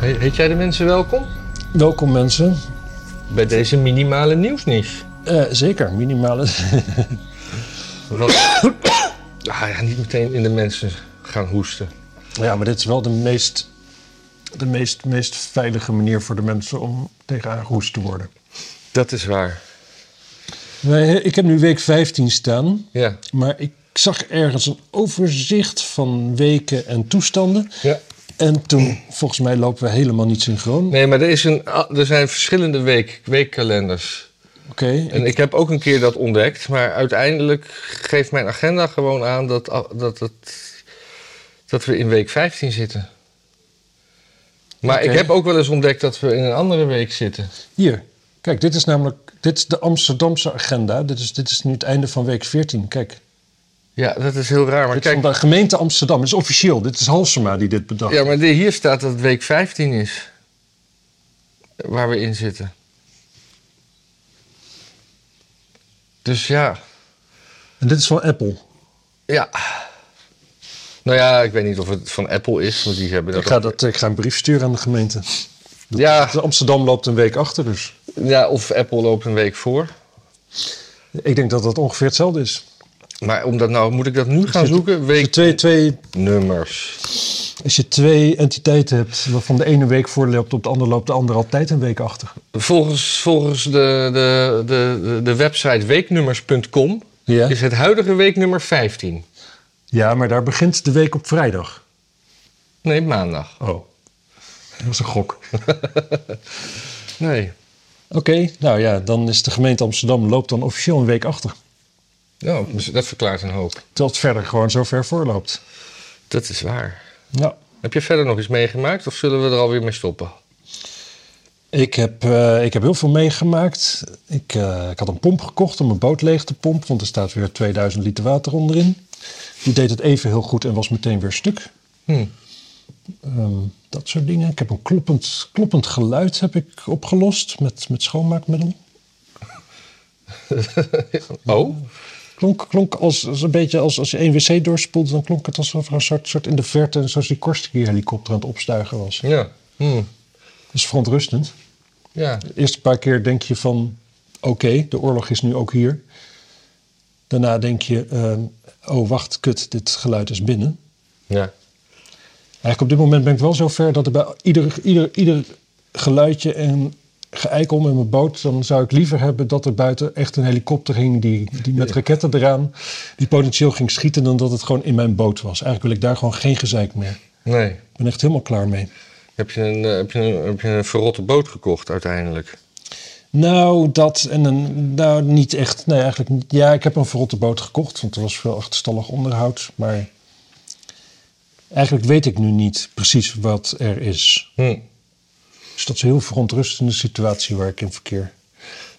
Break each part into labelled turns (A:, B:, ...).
A: He- Heet jij de mensen welkom?
B: Welkom mensen.
A: Bij deze minimale nieuwsnieuws.
B: Eh, zeker, minimale.
A: Wat... ah, ja, niet meteen in de mensen gaan hoesten.
B: ja, maar dit is wel de meest, de meest, meest veilige manier voor de mensen om tegen aangehoest te worden.
A: Dat is waar.
B: Wij, ik heb nu week 15 staan,
A: Ja.
B: maar ik zag ergens een overzicht van weken en toestanden.
A: ja.
B: En toen, volgens mij lopen we helemaal niet synchroon.
A: Nee, maar er, is een, ah, er zijn verschillende week, weekkalenders.
B: Oké,
A: En ik heb ook een keer dat ontdekt. Maar uiteindelijk geeft mijn agenda gewoon aan dat, ah, dat, dat, dat we in week 15 zitten. Maar ik
B: Oké.
A: heb ook wel eens ontdekt dat we in een andere week zitten.
B: hier. Kijk, dit is namelijk dit is de Amsterdamse agenda. Dit is, dit is nu het einde van week 14. Kijk,
A: Ja, dat is heel raar. Maar
B: dit is
A: kijk,
B: van de gemeente Amsterdam. Dit is officieel. Dit is Halsema die dit bedacht.
A: Ja, maar de- hier staat dat het week 15 is. eh, Waar we in zitten. Dus ja.
B: En dit is van Apple.
A: Ja. Nou ja, ik weet niet of het van Apple is, want die hebben dat.
B: Ik ga,
A: ook-
B: dat, ik ga een brief sturen aan de gemeente.
A: Ja,
B: Amsterdam loopt een week achter dus.
A: ja, of Apple loopt een week voor.
B: Ik denk dat dat ongeveer hetzelfde is.
A: Maar om dat nou, moet ik dat nu gaan
B: zit-
A: zoeken?
B: Als je twee, twee,
A: Weeknummers.
B: als je twee entiteiten hebt waarvan de ene week voor loopt op de andere, loopt de andere altijd een week achter.
A: Volgens, volgens de, de, de, de website weeknummers.com
B: Ja.
A: is het huidige weeknummer 15.
B: Ja, maar daar begint de week op vrijdag.
A: Nee, maandag.
B: Oh, dat was een gok. Oké,
A: Nee.
B: nou ja, dan is de gemeente Amsterdam loopt dan officieel een week achter.
A: Nou, dus dat verklaart een hoop.
B: Terwijl het verder gewoon zo ver voorloopt.
A: Dat is waar.
B: Ja.
A: Heb je verder nog iets meegemaakt of zullen we er alweer mee stoppen?
B: Ik heb, eh, ik heb heel veel meegemaakt. Ik, eh, ik had een pomp gekocht om mijn boot leeg te pompen, want er staat weer 2000 liter water onderin. Die deed het even heel goed en was meteen weer stuk.
A: Hm.
B: Ehm, dat soort dingen. Ik heb een kloppend, kloppend geluid heb ik opgelost met, met schoonmaakmiddel.
A: Oh,
B: Klonk, klonk als, als een beetje als, als je één wc doorspoelt, dan klonk het alsof er een soort, soort in de verte, zoals die Korstiki-helikopter aan het opstuigen was.
A: ja. Hm.
B: Dat is verontrustend.
A: Ja,
B: De eerste paar keer denk je van, oké, de oorlog is nu ook hier. Daarna denk je, eh, oh wacht, kut, dit geluid is binnen.
A: ja.
B: Eigenlijk op dit moment ben ik wel zo ver dat er bij ieder, ieder, ieder geluidje en geëik om in mijn boot... dan zou ik liever hebben dat er buiten echt een helikopter hing... die, die met raketten eraan, die potentieel ging schieten... dan dat het gewoon in mijn boot was. Eigenlijk wil ik daar gewoon geen gezeik meer.
A: Nee.
B: Ik ben echt helemaal klaar mee.
A: Heb je een, eh, heb je een, heb je een verrotte boot gekocht uiteindelijk?
B: Nou, dat en een, nou niet echt. Nee, eigenlijk niet. Ja, ik heb een verrotte boot gekocht, want er was veel achterstallig onderhoud. Maar eigenlijk weet ik nu niet precies wat er is.
A: Hm.
B: Dus dat is een heel verontrustende situatie waar ik in verkeer.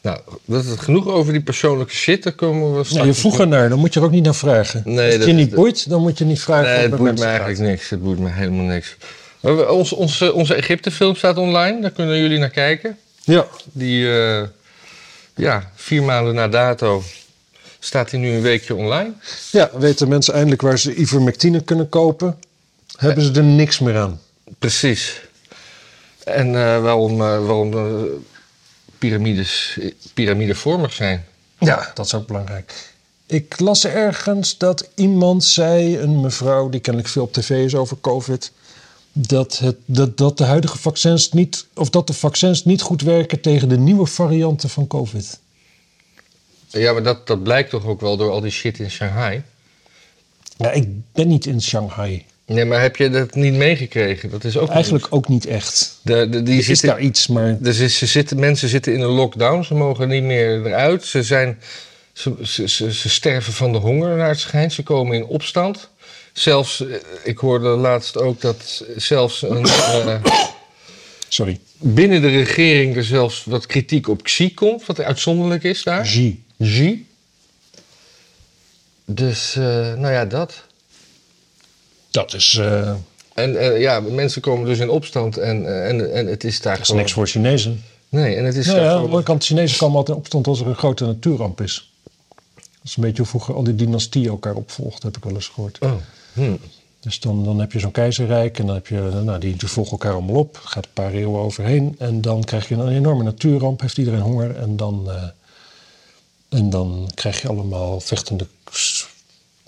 A: Nou, dat is genoeg over die persoonlijke shit. Daar komen we
B: Nou,
A: straks...
B: je vroeg er naar, dan moet je er ook niet naar vragen.
A: Nee,
B: Als het
A: dat-
B: je niet
A: dat-
B: boeit, dan moet je niet vragen.
A: Nee,
B: wat
A: het
B: bij
A: boeit me
B: mensen
A: eigenlijk niks. Het boeit me helemaal niks. Maar we- Ons, onze onze Egypte-film staat online. Daar kunnen jullie naar kijken.
B: gaat. Ja,
A: Die, eh, ja, vier maanden na dato staat die nu een weekje online.
B: ja, weten mensen eindelijk waar ze ivermectine kunnen kopen? Hebben ze er niks meer aan?
A: Precies. En eh, waarom, eh, waarom eh, piramides eh, piramidevormig zijn.
B: Ja, dat is ook belangrijk. Ik las ergens dat iemand zei, een mevrouw die kennelijk veel op tv is over COVID, dat, het, dat, dat de huidige vaccins niet, of dat de vaccins niet goed werken tegen de nieuwe varianten van COVID.
A: Ja, maar dat, dat blijkt toch ook wel door al die shit in Shanghai.
B: Ja, ik ben niet in Shanghai.
A: Nee, maar heb je dat niet meegekregen? Dat is ook
B: Eigenlijk ook niet echt.
A: De, de, die
B: Er is
A: zitten,
B: daar iets, maar
A: dus is- ze zitten, mensen zitten in een lockdown. Ze mogen niet meer eruit. Ze, zijn, ze, ze, ze, ze sterven van de honger naar het schijnt. Ze komen in opstand. Zelfs, eh, ik hoorde laatst ook dat zelfs een, eh,
B: sorry,
A: binnen de regering er zelfs wat kritiek op Xi komt, wat uitzonderlijk is daar.
B: Xi.
A: Xi. Dus, eh, nou ja, dat.
B: Dat is, eh,
A: En eh, ja, mensen komen dus in opstand en, eh, en, en het is daar
B: dat is
A: gewoon...
B: niks voor Chinezen.
A: Nee, en het is
B: Nou
A: daar
B: ja, aan de
A: gewoon-
B: andere kant, Chinezen komen altijd in opstand als er een grote natuurramp is. Dat is een beetje hoe vroeger al die dynastieën elkaar opvolgden, heb ik wel eens gehoord.
A: Oh, hm.
B: Dus dan, dan heb je zo'n keizerrijk en dan heb je, nou, die, die volgen elkaar allemaal op. Gaat een paar eeuwen overheen. En dan krijg je een enorme natuurramp, heeft iedereen honger. En dan, eh, en dan krijg je allemaal vechtende s-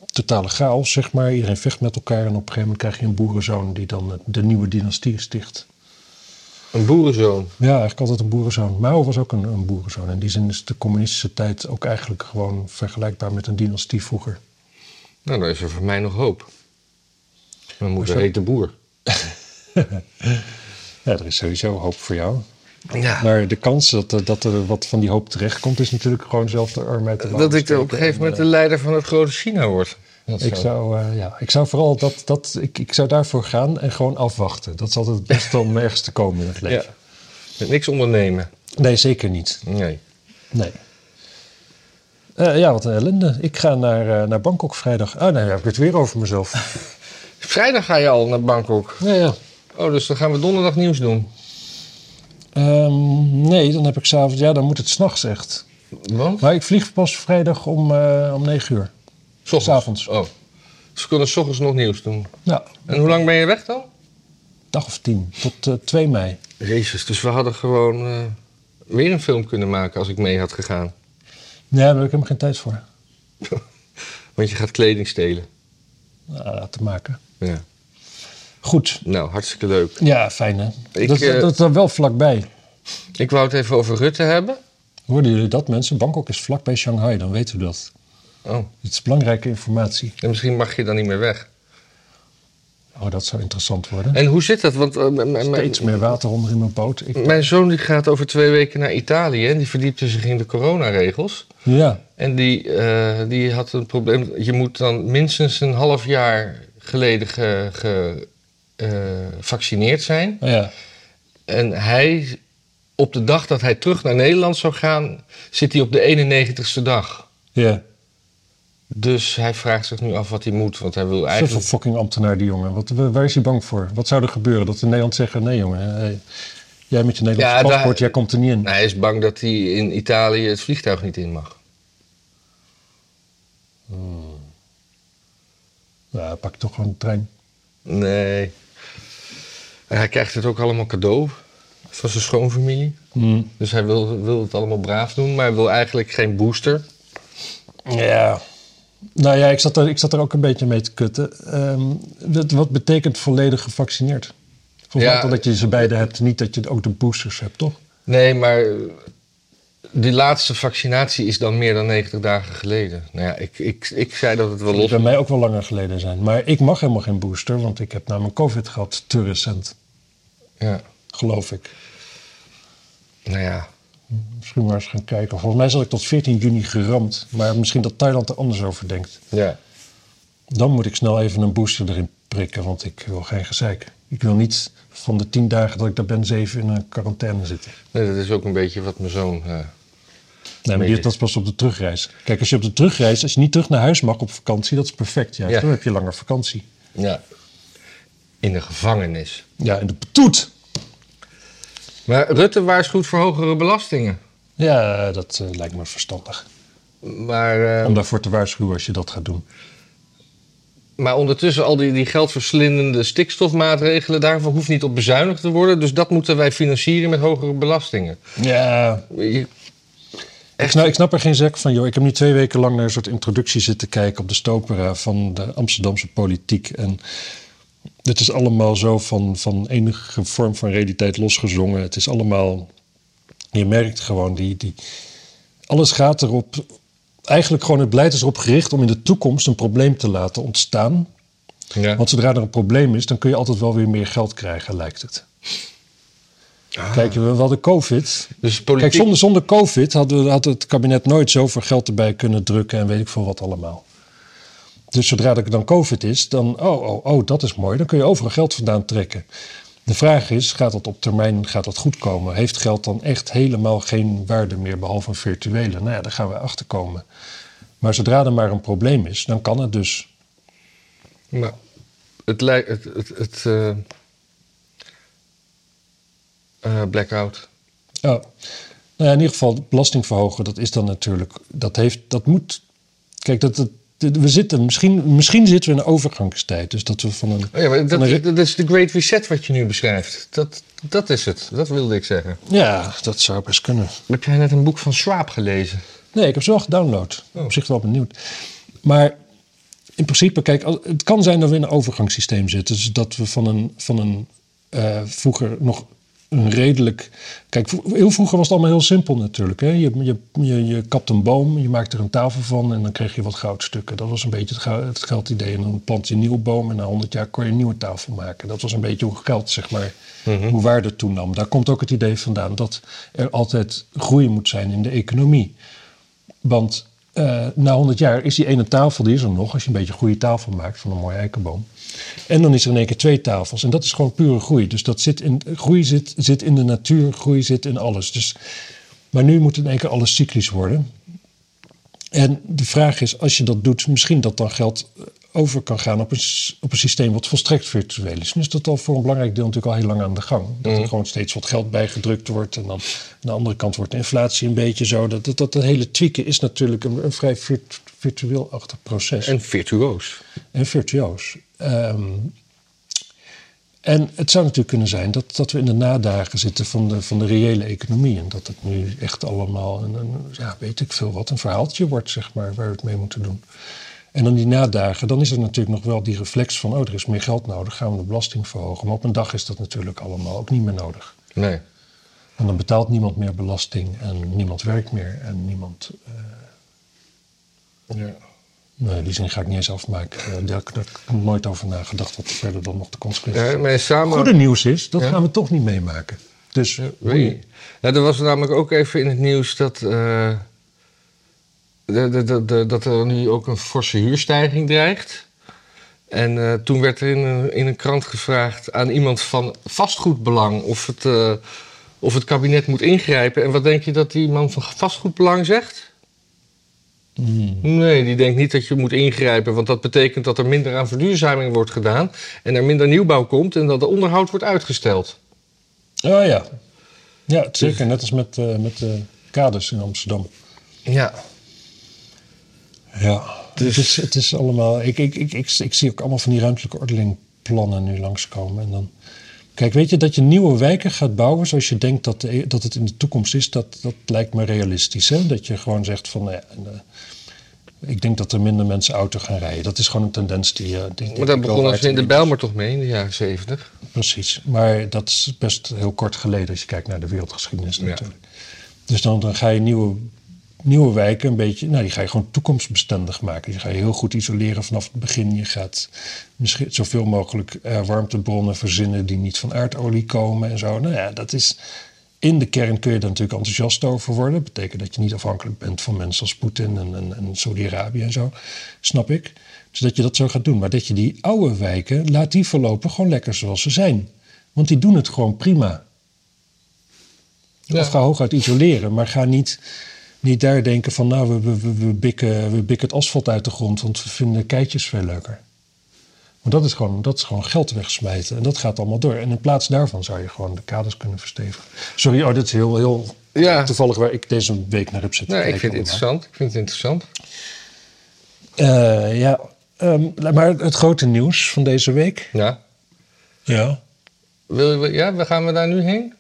B: totale chaos, zeg maar. Iedereen vecht met elkaar. En op een gegeven moment krijg je een boerenzoon die dan de nieuwe dynastie sticht.
A: Een boerenzoon.
B: Ja, eigenlijk altijd een boerenzoon. Mao was ook een, een boerenzoon. In die zin is de communistische tijd ook eigenlijk gewoon vergelijkbaar met een dynastie vroeger.
A: Nou, dan is er voor mij nog hoop. Mijn moeder
B: Hoezo?
A: heet de boer.
B: Ja, er is sowieso hoop voor jou.
A: Ja,
B: Maar de kans dat, er- dat er wat van die hoop terechtkomt, is natuurlijk gewoon zelf de arm uit de mouw
A: dat ik er op een
B: steken.
A: gegeven moment de leider van het grote China word. Dat
B: Ik zou, eh, ja, ik zou vooral dat, dat ik, ik zou daarvoor gaan en gewoon afwachten. Dat is altijd het beste om ergens te komen in het
A: ja.
B: leven.
A: Met niks ondernemen.
B: Nee, zeker niet.
A: Nee.
B: Nee. Eh, ja, wat een ellende. Ik ga naar, eh, naar Bangkok vrijdag. Ah, nee, daar heb ik het weer over mezelf.
A: Vrijdag ga je al naar Bangkok.
B: ja, ja.
A: Oh, dus dan gaan we donderdag nieuws doen.
B: Ehm, nee, dan heb ik s'avonds... Ja, dan moet het s'nachts echt.
A: Want?
B: Maar ik vlieg pas vrijdag om, eh, om 9 uur.
A: S ochtends.
B: S'avonds.
A: Oh. Dus we kunnen s ochtends nog nieuws doen.
B: Ja,
A: En hoe lang ben je weg dan?
B: dag of tien. Tot eh, 2 mei.
A: Jezus, dus we hadden gewoon eh, weer een film kunnen maken als ik mee had gegaan.
B: Nee, daar heb ik helemaal geen tijd voor.
A: Want je gaat kleding stelen.
B: Ah, te maken.
A: Ja.
B: Goed.
A: Nou, hartstikke leuk.
B: Ja, fijn hè.
A: Ik,
B: dat,
A: eh,
B: dat is dan wel vlakbij.
A: Ik wou het even over Rutte hebben.
B: Hoorden jullie dat mensen? Bangkok is vlakbij Shanghai, dan weten we dat.
A: Oh,
B: Dit is belangrijke informatie.
A: en misschien mag je dan niet meer weg.
B: Oh, dat zou interessant worden.
A: En hoe zit dat? Want eh, m- m- m-
B: Steeds meer water onder in mijn boot. Ik,
A: mijn zoon die gaat over twee weken naar Italië en die verdiepte zich in de coronaregels.
B: ja,
A: En die, eh, die had een probleem. Je moet dan minstens een half jaar geleden eh, gevaccineerd zijn.
B: nou ja.
A: En hij, op de dag dat hij terug naar Nederland zou gaan, zit hij op de 91ste dag.
B: ja.
A: Dus hij vraagt zich nu af wat hij moet, want hij wil
B: Zoveel
A: eigenlijk.
B: fucking ambtenaar die jongen. Wat, wa- waar is hij bang voor? Wat zou er gebeuren? Dat in Nederland zeggen, nee jongen, hey, jij met je Nederlandse
A: Ja, daar-
B: paspoort, jij komt er niet in.
A: Hij is bang dat hij in Italië het vliegtuig niet in mag.
B: Ja, pak toch gewoon de trein.
A: Nee. En hij krijgt het ook allemaal cadeau van zijn schoonfamilie. Dus hij wil, wil het allemaal braaf doen, maar hij wil eigenlijk geen booster.
B: Ja. Nou ja, ik zat er, ik zat er ook een beetje mee te kutten. Ehm, dat, wat betekent volledig gevaccineerd? Volgens mij
A: Ja.
B: toch dat je ze beide hebt, niet dat je ook de boosters hebt, toch?
A: Nee, maar eh, die laatste vaccinatie is dan meer dan 90 dagen geleden. Nou ja, ik, ik, ik zei dat het wel
B: Die
A: los
B: bij mij ook wel langer geleden zijn. Maar ik mag helemaal geen booster, want ik heb namelijk COVID gehad te recent,
A: Ja,
B: geloof ik.
A: nou ja.
B: Misschien maar eens gaan kijken. Volgens mij zat ik tot 14 juni geramd, maar misschien dat Thailand er anders over denkt.
A: ja.
B: Dan moet ik snel even een booster erin prikken, want ik wil geen gezeik. Ik wil niet van de 10 dagen dat ik daar ben, 7 in een quarantaine zitten.
A: Nee, dat is ook een beetje wat mijn zoon. eh,
B: Nee, maar
A: Weet
B: die-
A: ik.
B: dat is pas op de terugreis. Kijk, als je op de terugreis, als je niet terug naar huis mag op vakantie, dat is perfect. Ja,
A: Ja.
B: dan heb je langer vakantie.
A: ja. In de gevangenis.
B: Ja, en de toet.
A: Maar Rutte waarschuwt voor hogere belastingen.
B: Ja, dat eh, lijkt me verstandig.
A: Maar, eh,
B: Om daarvoor te waarschuwen als je dat gaat doen.
A: maar ondertussen al die, die geldverslindende stikstofmaatregelen, daarvoor hoeft niet op bezuinigd te worden. Dus dat moeten wij financieren met hogere belastingen.
B: Ja,
A: Je-
B: ik snap, ik snap er geen zek van, joh. Ik heb nu twee weken lang naar een soort introductie zitten kijken op de stopera van de Amsterdamse politiek. En dit is allemaal zo van, van enige vorm van realiteit losgezongen. Het is allemaal, je merkt gewoon, die, die, alles gaat erop, eigenlijk gewoon het beleid is erop gericht om in de toekomst een probleem te laten ontstaan.
A: Ja.
B: Want zodra er een probleem is, dan kun je altijd wel weer meer geld krijgen, lijkt het. Kijk, we we hadden COVID.
A: Dus politiek...
B: Kijk, zonder, zonder COVID had, had het kabinet nooit zoveel geld erbij kunnen drukken en weet ik veel wat allemaal. Dus zodra er dan COVID is, dan, oh, oh, oh, dat is mooi, dan kun je overal geld vandaan trekken. De vraag is, gaat dat op termijn, gaat dat goed komen? Heeft geld dan echt helemaal geen waarde meer, behalve een virtuele? Nou ja, daar gaan we achter komen. Maar zodra er maar een probleem is, dan kan het dus.
A: Maar het lijkt. Het, het, het, eh, eh, blackout.
B: Ja. Nou ja, in ieder geval belasting verhogen, dat is dan natuurlijk, dat heeft, dat moet, kijk, dat, dat de- we zitten, misschien, misschien zitten we in een overgangstijd. Dus dat we van een.
A: Oh ja, maar
B: van een
A: dat, dat is de Great Reset wat je nu beschrijft. Dat, dat is het. Dat wilde ik zeggen.
B: ja, dat zou best kunnen.
A: Heb jij net een boek van Schwab gelezen?
B: Nee, ik heb ze wel gedownload.
A: Oh.
B: Op zich wel benieuwd. Maar in principe, kijk, al- het kan zijn dat we in een overgangssysteem zitten. Dus dat we van een, van een eh, vroeger nog een redelijk... Kijk, vro- heel vroeger was het allemaal heel simpel natuurlijk. Hè? Je, je, je, je kapt een boom, je maakt er een tafel van en dan kreeg je wat goudstukken. Dat was een beetje het, gou- het geldidee. En dan plant je een nieuwe boom en na 100 jaar kon je een nieuwe tafel maken. Dat was een beetje hoe geld, zeg maar, hoe waarde toenam. Daar komt ook het idee vandaan dat er altijd groei moet zijn in de economie. Want eh, na 100 jaar is die ene tafel, die is er nog, als je een beetje een goede tafel maakt van een mooie eikenboom. En dan is er in één keer twee tafels. En dat is gewoon pure groei. Dus dat zit in, groei zit, zit in de natuur, groei zit in alles. Dus, maar nu moet in één keer alles cyclisch worden. En de vraag is, als je dat doet, misschien dat dan geld eh, over kan gaan op een, s- op een systeem wat volstrekt virtueel is. Nu is dat al voor een belangrijk deel natuurlijk al heel lang aan de gang. Dat er gewoon steeds wat geld bijgedrukt wordt en dan aan de andere kant wordt de inflatie een beetje zo. Dat, dat, dat, dat hele tweaken is natuurlijk een, een vrij virt- virtueel-achtig proces
A: En virtuoos.
B: en virtuoos. Ehm, en het zou natuurlijk kunnen zijn dat, dat we in de nadagen zitten van de, van de reële economie. En dat het nu echt allemaal een, een, ja, weet ik veel wat, een verhaaltje wordt, zeg maar, waar we het mee moeten doen. En dan die nadagen, dan is er natuurlijk nog wel die reflex van, oh, er is meer geld nodig, gaan we de belasting verhogen. Maar op een dag is dat natuurlijk allemaal ook niet meer nodig.
A: Nee.
B: Want dan betaalt niemand meer belasting en niemand werkt meer en niemand... eh,
A: Ja.
B: nee, die zin ga ik niet eens afmaken. Eh, daar, daar heb ik nooit over nagedacht wat er verder dan nog de consequenties
A: Ja, maar samen...
B: goede nieuws is, dat
A: Ja.
B: gaan we toch niet meemaken. Dus
A: Weet je. Nou, er was namelijk ook even in het nieuws dat. eh, de- de- de- de- dat er nu ook een forse huurstijging dreigt. En eh, toen werd er in een, in een krant gevraagd aan iemand van vastgoedbelang of het, eh, of het kabinet moet ingrijpen. En wat denk je dat die man van vastgoedbelang zegt?
B: Hmm.
A: Nee, die denkt niet dat je moet ingrijpen, want dat betekent dat er minder aan verduurzaming wordt gedaan en er minder nieuwbouw komt en dat de onderhoud wordt uitgesteld.
B: Oh ja. Ja, zeker. Net als met, eh, met de kaders in Amsterdam.
A: Ja,
B: Ja. Dus het is, het is allemaal... Ik, ik, ik, ik, ik zie ook allemaal van die ruimtelijke ordelingplannen nu langskomen. En dan, kijk, weet je, dat je nieuwe wijken gaat bouwen zoals je denkt dat, de- e- dat het in de toekomst is, dat, dat lijkt me realistisch. Hè? Dat je gewoon zegt van... nou Ja, en, eh, ik denk dat er minder mensen auto gaan rijden. Dat is gewoon een tendens die... eh, die
A: Maar daar begonnen ze in de
B: bel.
A: Bijlmer toch mee in de jaren zeventig.
B: Precies, maar dat is best heel kort geleden als je kijkt naar de wereldgeschiedenis
A: Ja.
B: natuurlijk. Dus dan, dan ga je nieuwe, nieuwe wijken een beetje, nou die ga je gewoon toekomstbestendig maken. Die ga je heel goed isoleren vanaf het begin. Je gaat misschien zoveel mogelijk eh, warmtebronnen verzinnen die niet van aardolie komen en zo. Nou ja, dat is, in de kern kun je daar natuurlijk enthousiast over worden. Dat betekent dat je niet afhankelijk bent van mensen als Poetin en, en, en Saudi-Arabië en zo. Snap ik. Dus dat je dat zo gaat doen. Maar dat je die oude wijken, laat die verlopen gewoon lekker zoals ze zijn. Want die doen het gewoon prima.
A: Ja.
B: Of ga hooguit isoleren, maar ga niet, niet daar denken van... nou, we, we, we, we bikken, we bikken het asfalt uit de grond, want we vinden keitjes veel leuker. Want dat is, gewoon, dat is gewoon geld wegsmijten. En dat gaat allemaal door. En in plaats daarvan zou je gewoon de kaders kunnen verstevigen. Sorry, oh, dit is heel, heel
A: Ja,
B: toevallig waar ik deze week naar heb zitten
A: nou, ik
B: kijken
A: vind het
B: allemaal.
A: interessant. Ik vind het interessant.
B: Eh, ja, ehm, maar het grote nieuws van deze week...
A: Ja.
B: Ja.
A: Wil, wil- ja, waar gaan we daar nu heen?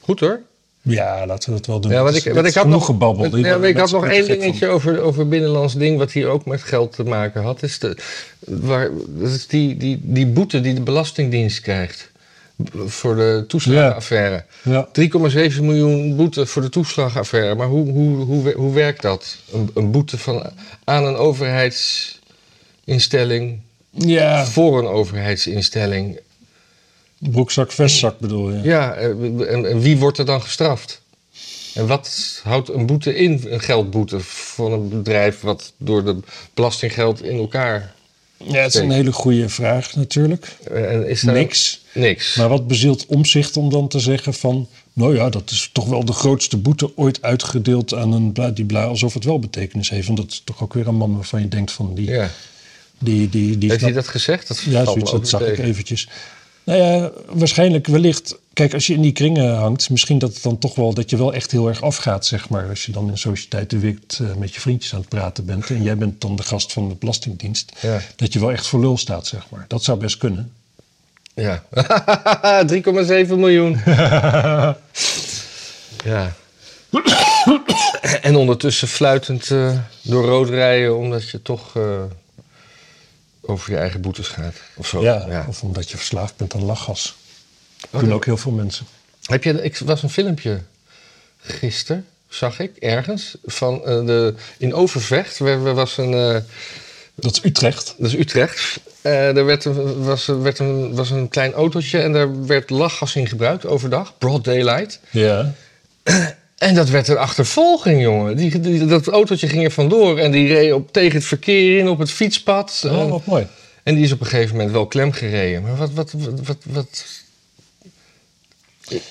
A: Goed hoor.
B: Ja, laten we dat wel doen.
A: Ja,
B: Dat
A: want
B: is-
A: ik,
B: dat
A: want ik
B: is
A: had
B: genoeg
A: nog,
B: gebabbeld.
A: Ja, maar ik had nog één
B: dingetje.
A: dingetje over, over binnenlands ding... wat hier ook met geld te maken had. Is de, waar, dat is die, die, die boete die de Belastingdienst krijgt... b- voor de toeslagenaffaire.
B: Ja.
A: 3,7 miljoen boete voor de toeslagaffaire. Maar hoe, hoe, hoe, we- hoe werkt dat? Een, een boete van, aan een overheidsinstelling
B: ja,
A: voor een overheidsinstelling.
B: broekzak, vestzak bedoel je.
A: Ja, eh, en, en wie wordt er dan gestraft? En wat houdt een boete in, een geldboete van een bedrijf wat door de belastinggeld in elkaar?
B: Ja, het is een
A: Zeker.
B: hele goede vraag natuurlijk.
A: eh, En is daar
B: Niks.
A: Niks.
B: Maar wat bezielt omzicht om dan te zeggen van... nou ja, dat is toch wel de grootste boete ooit uitgedeeld aan een bladibla... alsof het wel betekenis heeft. Want dat is toch ook weer een man waarvan je denkt van... die,
A: ja.
B: die, die, die
A: Heeft hij
B: snapt-
A: dat gezegd? Dat valt
B: Ja,
A: me
B: zoiets,
A: ook
B: dat zag ik
A: tegen.
B: eventjes. Nou ja, waarschijnlijk wellicht Kijk, als je in die kringen hangt, misschien dat het dan toch wel dat je wel echt heel erg afgaat, zeg maar. Als je dan in Sociëteit de Wikt eh, met je vriendjes aan het praten bent en jij bent dan de gast van de Belastingdienst,
A: Ja.
B: dat je wel echt voor lul staat, zeg maar. Dat zou best kunnen.
A: Ja. 3,7 miljoen. ja. en ondertussen fluitend eh, door rood rijden omdat je toch eh, over je eigen boetes gaat. Of zo.
B: ja,
A: Oh, Ja.
B: Of omdat je verslaafd bent aan lachgas.
A: Oh,
B: Dat doen ook heel veel mensen.
A: Heb je, ik was een filmpje gisteren, zag ik, ergens, van eh, de, in Overvecht. Waar, waar was een, eh,
B: Dat is Utrecht.
A: dat is Utrecht. Eh er werd een, was, een- werd een, was een klein autootje en daar werd lachgas in gebruikt overdag, broad daylight.
B: Ja.
A: En dat werd een achtervolging, jongen. Die, die- dat autootje ging er vandoor en die reed op, tegen het verkeer in op het fietspad.
B: Oh,
A: en,
B: wat mooi.
A: en die is op een gegeven moment wel klem gereden. Maar wat, wat, wat, wat, wat-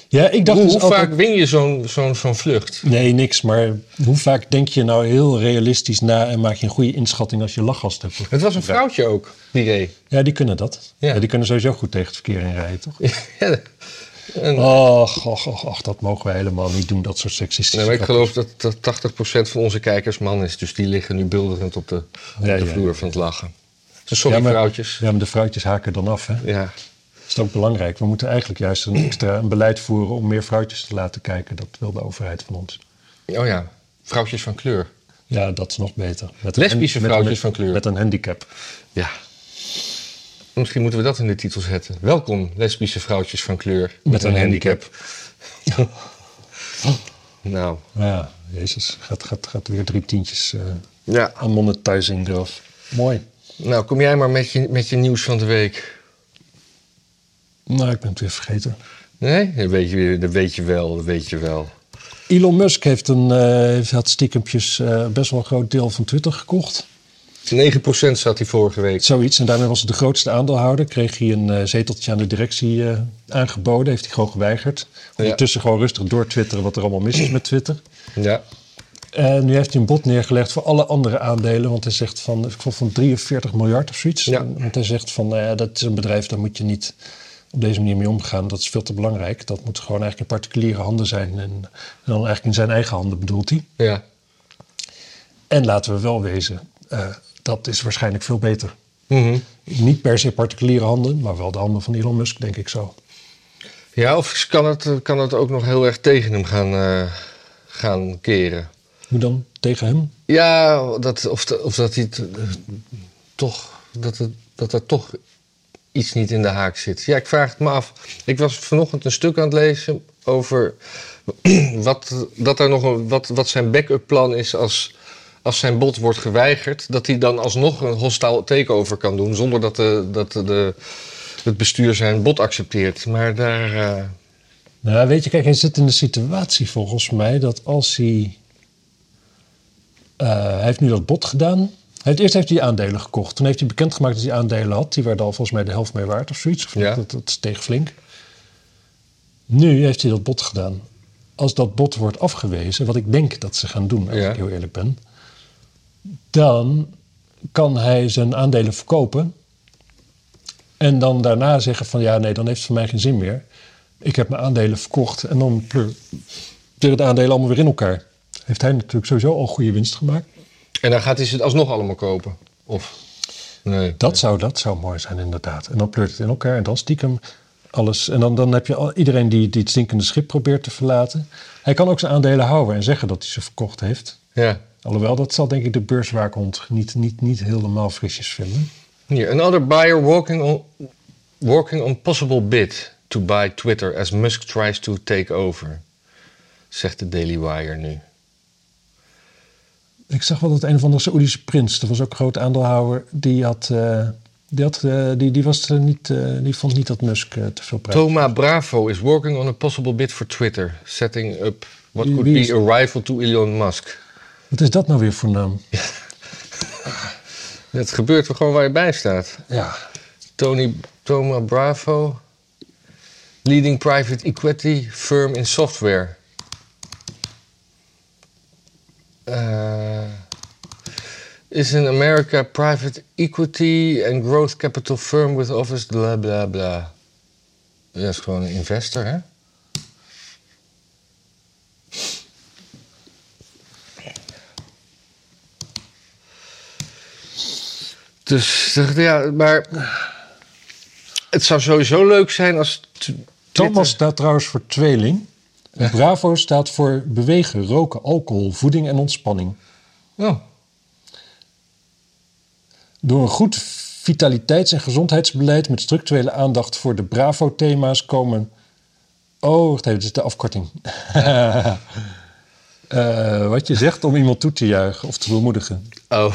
B: Ja, ik dacht
A: hoe
B: dus
A: hoe
B: altijd-
A: vaak win je zo'n zo'n zo'n vlucht?
B: Nee, niks. Maar hoe vaak denk je nou heel realistisch na en maak je een goede inschatting als je lachgas hebt?
A: Het was een vrouwtje ook, die reed.
B: Ja, die kunnen dat.
A: Ja.
B: Ja. die kunnen sowieso goed tegen het verkeer inrijden, toch?
A: Ja, en,
B: Och, och, och, och, dat mogen wij helemaal niet doen, dat soort seksistische...
A: nee, maar ik
B: grappen.
A: geloof dat, dat 80% van onze kijkers man is. Dus die liggen nu bulderend op de, op
B: Ja,
A: de
B: ja.
A: vloer van het lachen. Dus sorry,
B: Ja, maar-
A: vrouwtjes.
B: Ja, maar de vrouwtjes haken dan af, hè?
A: Ja.
B: Dat is ook belangrijk. We moeten eigenlijk juist een extra een beleid voeren om meer vrouwtjes te laten kijken. Dat wil de overheid van ons.
A: Oh ja, vrouwtjes van kleur.
B: Ja, dat is nog beter. Met
A: Lesbische
B: hand-
A: vrouwtjes
B: met-
A: van kleur.
B: Met een handicap.
A: Ja. Misschien moeten we dat in de titel zetten. Welkom, lesbische vrouwtjes van kleur.
B: Met een
A: nou,
B: Ja, jezus. Gaat, gaat, gaat weer drie tientjes eh,
A: ja.
B: aan monetizing eraf. Mooi.
A: nou, kom jij maar met je, met je nieuws van de week.
B: Nou, ik ben het weer vergeten.
A: Nee? Dat weet je, weer- dat weet je wel, dat weet je wel.
B: Elon Musk heeft een, eh, heeft had stiekempjes eh, best wel een groot deel van Twitter gekocht.
A: 9% zat hij vorige week.
B: Zoiets. En daarmee was hij de grootste aandeelhouder. Kreeg hij een eh, zeteltje aan de directie eh, aangeboden. Heeft hij gewoon geweigerd. Ondertussen gewoon rustig doortwitteren wat er allemaal mis is met Twitter.
A: Ja.
B: En nu heeft hij een bod neergelegd voor alle andere aandelen. Want hij zegt van, ik vond van 43 miljard of zoiets.
A: Ja.
B: Want hij zegt van, nou ja, dat is een bedrijf, daar moet je niet op deze manier mee omgaan. Dat is veel te belangrijk. Dat moet gewoon eigenlijk in particuliere handen zijn. En, en dan eigenlijk in zijn eigen handen bedoelt hij.
A: Ja.
B: En laten we wel wezen, eh, dat is waarschijnlijk veel beter.
A: Mhm.
B: Niet per se particuliere handen, maar wel de handen van Elon Musk, denk ik zo.
A: Ja, of kan het, kan het ook nog heel erg tegen hem gaan, eh, gaan keren?
B: Hoe dan? Tegen hem?
A: Ja, dat, of, dat- of dat hij het, eh, toch, dat, het, dat er toch iets niet in de haak zit. Ja, ik vraag het me af. Ik was vanochtend een stuk aan het lezen over wat, dat er nog een, wat, wat zijn backup plan is als, als zijn bod wordt geweigerd. Dat hij dan alsnog een hostile takeover kan doen zonder dat, de, dat de, het bestuur zijn bod accepteert. Maar daar. eh,
B: Nou, weet je, kijk, hij zit in de situatie volgens mij dat als hij... eh, hij heeft nu dat bod gedaan. Hij heeft, eerst heeft hij aandelen gekocht. Toen heeft hij bekendgemaakt dat hij aandelen had. Die werden al volgens mij de helft meer waard of zoiets. Of
A: Ja.
B: dat, dat steeg flink. Nu heeft hij dat bod gedaan. Als dat bod wordt afgewezen, wat ik denk dat ze gaan doen, als
A: Ja.
B: ik heel eerlijk ben... dan kan hij zijn aandelen verkopen... En dan daarna zeggen van ja, nee, dan heeft het voor mij geen zin meer. Ik heb mijn aandelen verkocht en dan pleur de aandelen allemaal weer in elkaar. Heeft hij natuurlijk sowieso al goede winst gemaakt.
A: en dan gaat hij ze alsnog allemaal kopen. Of. Nee.
B: Dat zou, dat zou mooi zijn inderdaad. En dan pleurt het in elkaar en dan stiekem alles. En dan, dan heb je al, iedereen die, die het zinkende schip probeert te verlaten. Hij kan ook zijn aandelen houden en zeggen dat hij ze verkocht heeft.
A: Ja.
B: Alhoewel, dat zal denk ik de beurswaakhond niet, niet, niet helemaal frisjes vinden.
A: Here, another buyer working on working on possible bid to buy Twitter as Musk tries to take over, zegt de Daily Wire nu.
B: Ik zag wel dat een van de Saoedische prins, dat was ook een groot aandeelhouder, die had. eh, die, had, eh, die, die, was er niet, eh, die vond niet dat Musk eh, te veel prijs.
A: Toma Bravo is working on a possible bid for Twitter, setting up what could
B: Wie
A: be
B: is-
A: a rival to Elon Musk.
B: Wat is dat nou weer voor naam?
A: Het gebeurt gewoon waar je bij staat.
B: Ja.
A: Tony Toma Bravo, leading private equity firm in software. Uh, is an America private equity and growth capital firm with office bla bla bla. Dat is gewoon een investor, hè? Dus ja, maar het zou sowieso leuk zijn als. t-
B: Thomas staat trouwens voor tweeling. En Bravo staat voor bewegen, roken, alcohol, voeding en ontspanning.
A: Oh,
B: Door een goed vitaliteits- en gezondheidsbeleid met structurele aandacht voor de Bravo-thema's komen. Oh, wacht even, dit is de afkorting. Eh, wat je zegt om iemand toe te juichen of te bemoedigen.
A: oh.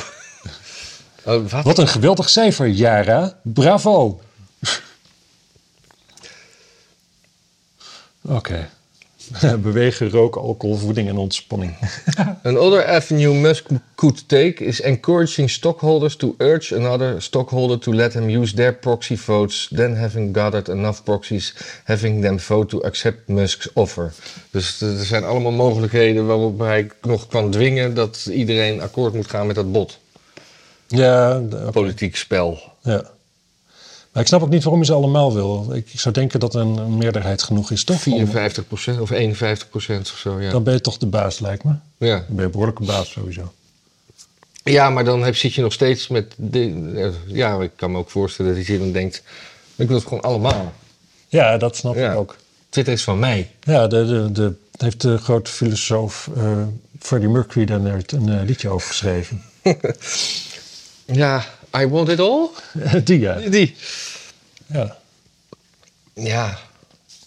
A: oh wat?
B: Wat een geweldig cijfer, Jara. Bravo. Oké. Bewegen, roken, alcohol, voeding en ontspanning.
A: Another avenue Musk could take is encouraging stockholders to urge another stockholder to let him use their proxy votes, then having gathered enough proxies, having them vote to accept Musk's offer. Dus er zijn allemaal mogelijkheden waarop hij nog kan dwingen dat iedereen akkoord moet gaan met dat bod.
B: Ja, de-
A: Politiek spel.
B: ja. Maar ik snap ook niet waarom je ze allemaal wil. Ik zou denken dat een een meerderheid genoeg is, toch?
A: 54% of 51% of zo, ja.
B: Dan ben je toch de baas, lijkt me.
A: Ja,
B: Dan ben je behoorlijke baas sowieso.
A: ja maar dan heb, zit je nog steeds met... de- eh, ja, ik kan me ook voorstellen dat hij dan denkt, ik wil het gewoon allemaal.
B: Ja, dat snap
A: Ja.
B: ik ook.
A: Twitter is van mij.
B: Ja, de, de, de, heeft de grote filosoof eh, Freddie Mercury daar net een eh, liedje over geschreven.
A: Ja, I want it all.
B: Die, ja.
A: Die.
B: ja.
A: Ja,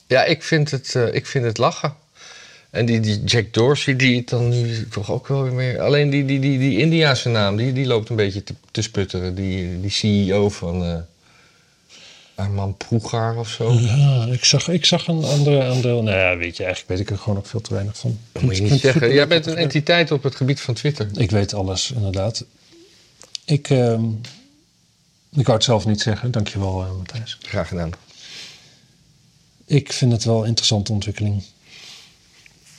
A: ja ik, vind het, eh, ik vind het lachen. En die, die Jack Dorsey, die het dan nu toch ook wel weer meer... Alleen die, die, die, die Indiaanse naam, die, die loopt een beetje te, te sputteren. Die, die CEO van eh Arman Proegaar of zo.
B: Ja, Ah, ik zag, ik zag een andere aandeel. Nou ja, weet je, eigenlijk weet ik er gewoon ook veel te weinig van.
A: Dat moet je niet zeggen. Jij bent een entiteit op het gebied van Twitter.
B: Ik weet alles, inderdaad. Ik, ehm, ik wou het zelf niet zeggen. Dankjewel, eh Matthijs.
A: Graag gedaan.
B: Ik vind het wel een interessante ontwikkeling.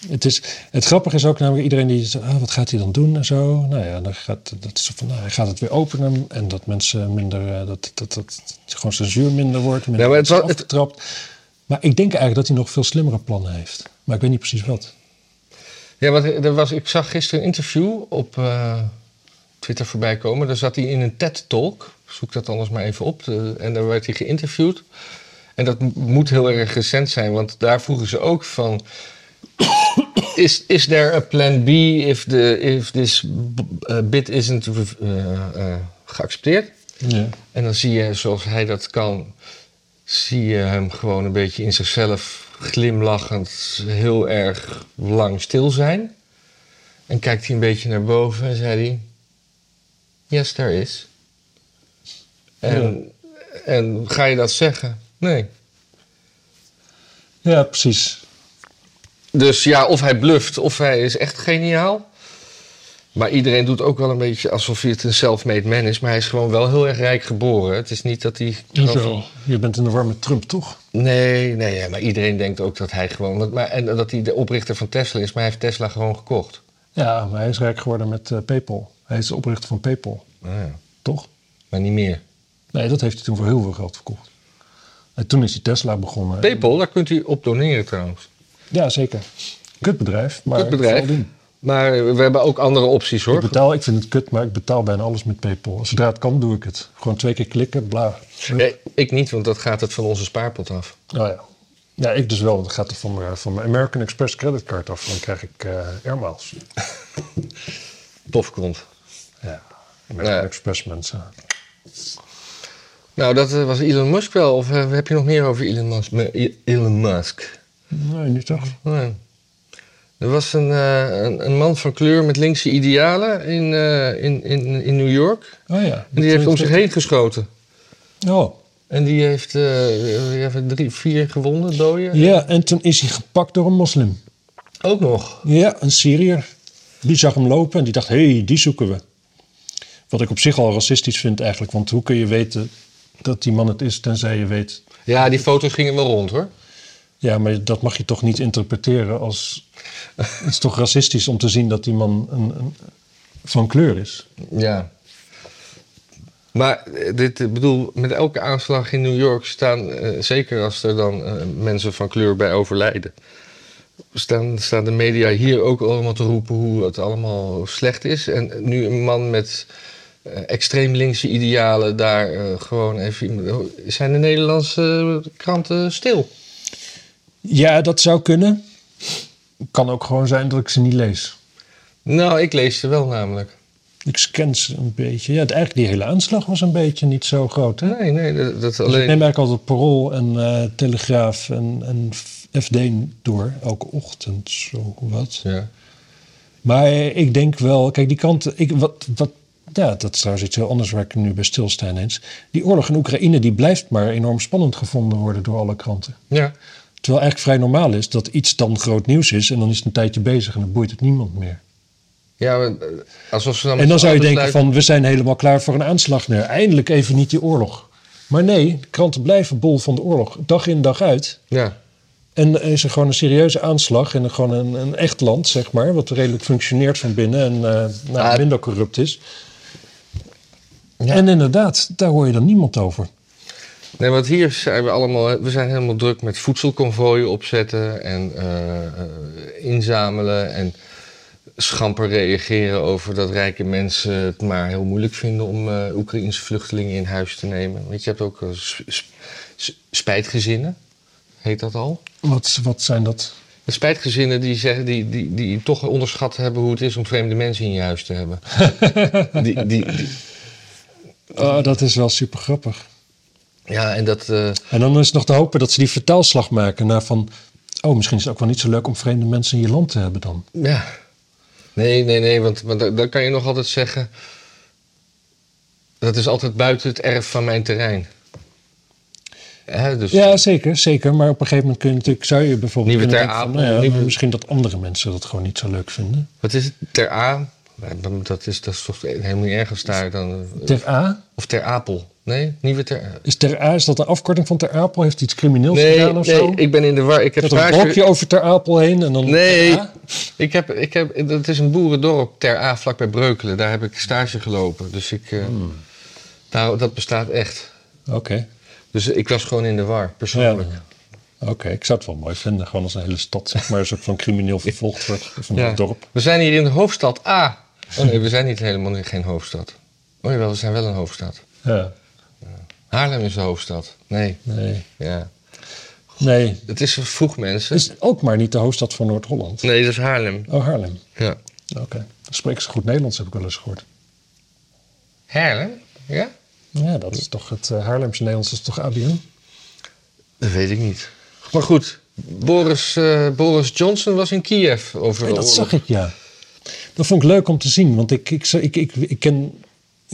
B: Het, is, het grappige is ook namelijk iedereen die zegt, ah, wat gaat hij dan doen en zo. Nou ja, dan gaat, dat is van, nou, hij gaat het weer openen en dat mensen minder, eh, dat, dat, dat, gewoon censuur minder wordt. Minder
A: Ja, maar het
B: mensen
A: wa- het-
B: afgetrapt. Maar ik denk eigenlijk dat hij nog veel slimmere plannen heeft. Maar ik weet niet precies wat.
A: Ja, want er was, ik zag gisteren een interview op eh, Twitter voorbij komen. Daar zat hij in een TED-talk. Zoek dat anders maar even op. De- en daar werd hij geïnterviewd. En dat m- moet heel erg recent zijn, want daar vroegen ze ook van... Is, is there a plan B if, the, if this b- eh, bid isn't rev- eh, eh, geaccepteerd?
B: Ja.
A: En dan zie je, zoals hij dat kan, zie je hem gewoon een beetje in zichzelf glimlachend heel erg lang stil zijn. En kijkt hij een beetje naar boven en zei hij: Yes, there is. En, en ga je dat zeggen? Nee.
B: ja, precies.
A: Dus ja, of hij bluft of hij is echt geniaal. Maar iedereen doet ook wel een beetje alsof hij het een self-made man is. Maar hij is gewoon wel heel erg rijk geboren. Het is niet dat hij...
B: Zo. Je bent in de war met Trump, toch?
A: Nee, nee, ja, maar iedereen denkt ook dat hij gewoon. want- maar, en dat hij de oprichter van Tesla is, maar hij heeft Tesla gewoon gekocht.
B: Ja, maar hij is rijk geworden met eh, PayPal. Hij is de oprichter van PayPal, toch?
A: Ah, Maar niet meer.
B: Nee, dat heeft hij toen voor heel veel geld verkocht. En toen is hij Tesla begonnen.
A: PayPal, daar kunt u op doneren trouwens.
B: Ja, zeker. Kut bedrijf, maar
A: Goed bedrijf.
B: ik zal doen.
A: Maar we hebben ook andere opties
B: Ik
A: hoor.
B: betaal, ik vind het kut, maar ik betaal bijna alles met PayPal. Zodra het kan, doe ik het. Gewoon twee keer klikken, bla.
A: Ja, ik niet, want dat gaat het van onze spaarpot af.
B: Nou ja. Ja, ik dus wel. want Dat gaat er van, mijn- van mijn American Express creditcard af. Dan krijg ik eh airmiles.
A: Tofkont.
B: Ja. American
A: Ja.
B: Express mensen.
A: Nou, dat eh, was Elon Musk wel. Of eh, heb je nog meer over Elon Musk? Me- I- Elon Musk.
B: Nee, niet toch?
A: Nee. Er was een, eh, een, een man van kleur met linkse idealen in, eh, in, in, in New York.
B: Oh ja.
A: En die heeft om zich heen geschoten.
B: Oh.
A: En die heeft, eh, die heeft drie, vier gewonden, doden.
B: Ja, en toen is hij gepakt door een moslim.
A: Ook nog.
B: Ja, een Syriër. Die zag hem lopen en die dacht, hé, hey, die zoeken we. Wat ik op zich al racistisch vind eigenlijk. Want hoe kun je weten dat die man het is, tenzij je weet...
A: Ja, die foto's gingen wel rond hoor.
B: Ja, maar dat mag je toch niet interpreteren als... Het is toch racistisch om te zien dat die man een, een- van kleur is?
A: Ja. Maar eh, dit, ik bedoel, met elke aanslag in New York staan, eh, zeker als er dan eh, mensen van kleur bij overlijden, staan, staan de media hier ook allemaal te roepen hoe het allemaal slecht is. En nu een man met eh, extreem linkse idealen daar eh, gewoon even... Zijn de Nederlandse kranten stil?
B: Ja, dat zou kunnen. Kan ook gewoon zijn dat ik ze niet lees.
A: Nou, ik lees ze wel namelijk.
B: Ik scan ze een beetje. Ja, het- eigenlijk die hele aanslag was een beetje niet zo groot. Hè?
A: Nee, nee, dat, dat
B: Dus ik
A: alleen...
B: neem eigenlijk altijd Parool en eh, Telegraaf en, en FD door. Elke ochtend, zo wat.
A: Ja.
B: Maar ik denk wel, kijk, die kant. Ik, wat, wat, ja, dat is trouwens iets heel anders waar ik nu bij stilsta ineens. Die oorlog in Oekraïne die blijft maar enorm spannend gevonden worden door alle kranten.
A: ja,
B: Terwijl eigenlijk vrij normaal is dat iets dan groot nieuws is en dan is het een tijdje bezig en dan boeit het niemand meer.
A: ja, maar, eh, alsof ze dan...
B: En dan zou je denken
A: besluiten-
B: van we zijn helemaal klaar voor een aanslag. Nou, eindelijk even niet die oorlog. Maar nee, de kranten blijven bol van de oorlog, dag in dag uit.
A: Ja,
B: En er is er gewoon een serieuze aanslag en gewoon een, een echt land, zeg maar, wat redelijk functioneert van binnen en eh, nou,
A: Ah.
B: minder corrupt is.
A: Ja.
B: En inderdaad, daar hoor je dan niemand over.
A: Nee, want hier zijn we allemaal, we zijn helemaal druk met voedselconvooien opzetten en eh, eh, inzamelen en schamper reageren over dat rijke mensen het maar heel moeilijk vinden om eh Oekraïnse vluchtelingen in huis te nemen. Want je hebt ook eh, s- s- s- spijtgezinnen, heet dat al?
B: Wat, wat zijn dat?
A: De spijtgezinnen die, zeggen, die, die, die toch onderschat hebben hoe het is om vreemde mensen in je huis te hebben. die, die, die-
B: Oh, dat is wel super grappig.
A: ja, en dat... eh,
B: En dan is het nog te hopen dat ze die vertaalslag maken naar van... oh, misschien is het ook wel niet zo leuk om vreemde mensen in je land te hebben dan.
A: Ja. Nee, nee, nee, want, want da- dan kan je nog altijd zeggen... dat is altijd buiten het erf van mijn terrein. Hè, dus,
B: Ja, zeker, zeker. Maar op een gegeven moment kun je natuurlijk, zou je bijvoorbeeld
A: Nieuwe
B: kunnen
A: Ter
B: denken
A: Apel,
B: van... nou ja,
A: nieuwe-
B: maar misschien dat andere mensen dat gewoon niet zo leuk vinden.
A: Wat is het? Ter A? Nee, dan- Dat is, dat is toch helemaal niet ergens daar dan... eh,
B: Ter A,
A: Of Ter Apel? Nee, Nieuwe Ter...
B: is Ter A, is dat een afkorting van Ter Apel? Heeft iets crimineels
A: Nee,
B: gedaan of zo?
A: nee, ik ben in de war. Ik heb
B: dat er een
A: waarschuw-
B: blokje over Ter Apel heen en dan...
A: Nee,
B: Ja?
A: ik heb, ik heb, dat is een boerendorp ter A vlak bij Breukelen. Daar heb ik stage gelopen. Dus ik... eh,
B: Hmm.
A: Nou, dat bestaat echt.
B: Oké,
A: Dus ik was gewoon in de war,
B: ja.
A: persoonlijk.
B: Oké, ik zou het wel mooi vinden. Gewoon als een hele stad, zeg maar, een soort van crimineel vervolgd wordt. Of een
A: Ja.
B: dorp.
A: We zijn hier in de hoofdstad A. Oh nee, we zijn niet helemaal in geen hoofdstad. Oh jawel, we zijn wel een hoofdstad.
B: Ja,
A: Haarlem is de hoofdstad. Nee,
B: nee.
A: ja.
B: Nee,
A: Het is vroeg, mensen.
B: is ook maar niet de hoofdstad van Noord-Holland.
A: Nee, dat is Haarlem.
B: Oh, Haarlem.
A: Ja.
B: Oké. Dan spreken ze goed Nederlands, heb ik wel eens gehoord.
A: Haarlem? Ja?
B: Ja, dat is toch het eh, Haarlemse Nederlands, is toch ABN?
A: Dat weet ik niet. Maar goed, Boris, eh, Boris Johnson was in Kiev over
B: Hey,
A: de
B: dat
A: oorlog.
B: zag ik, ja. Dat vond ik leuk om te zien, want ik, ik, ik, ik, ik ken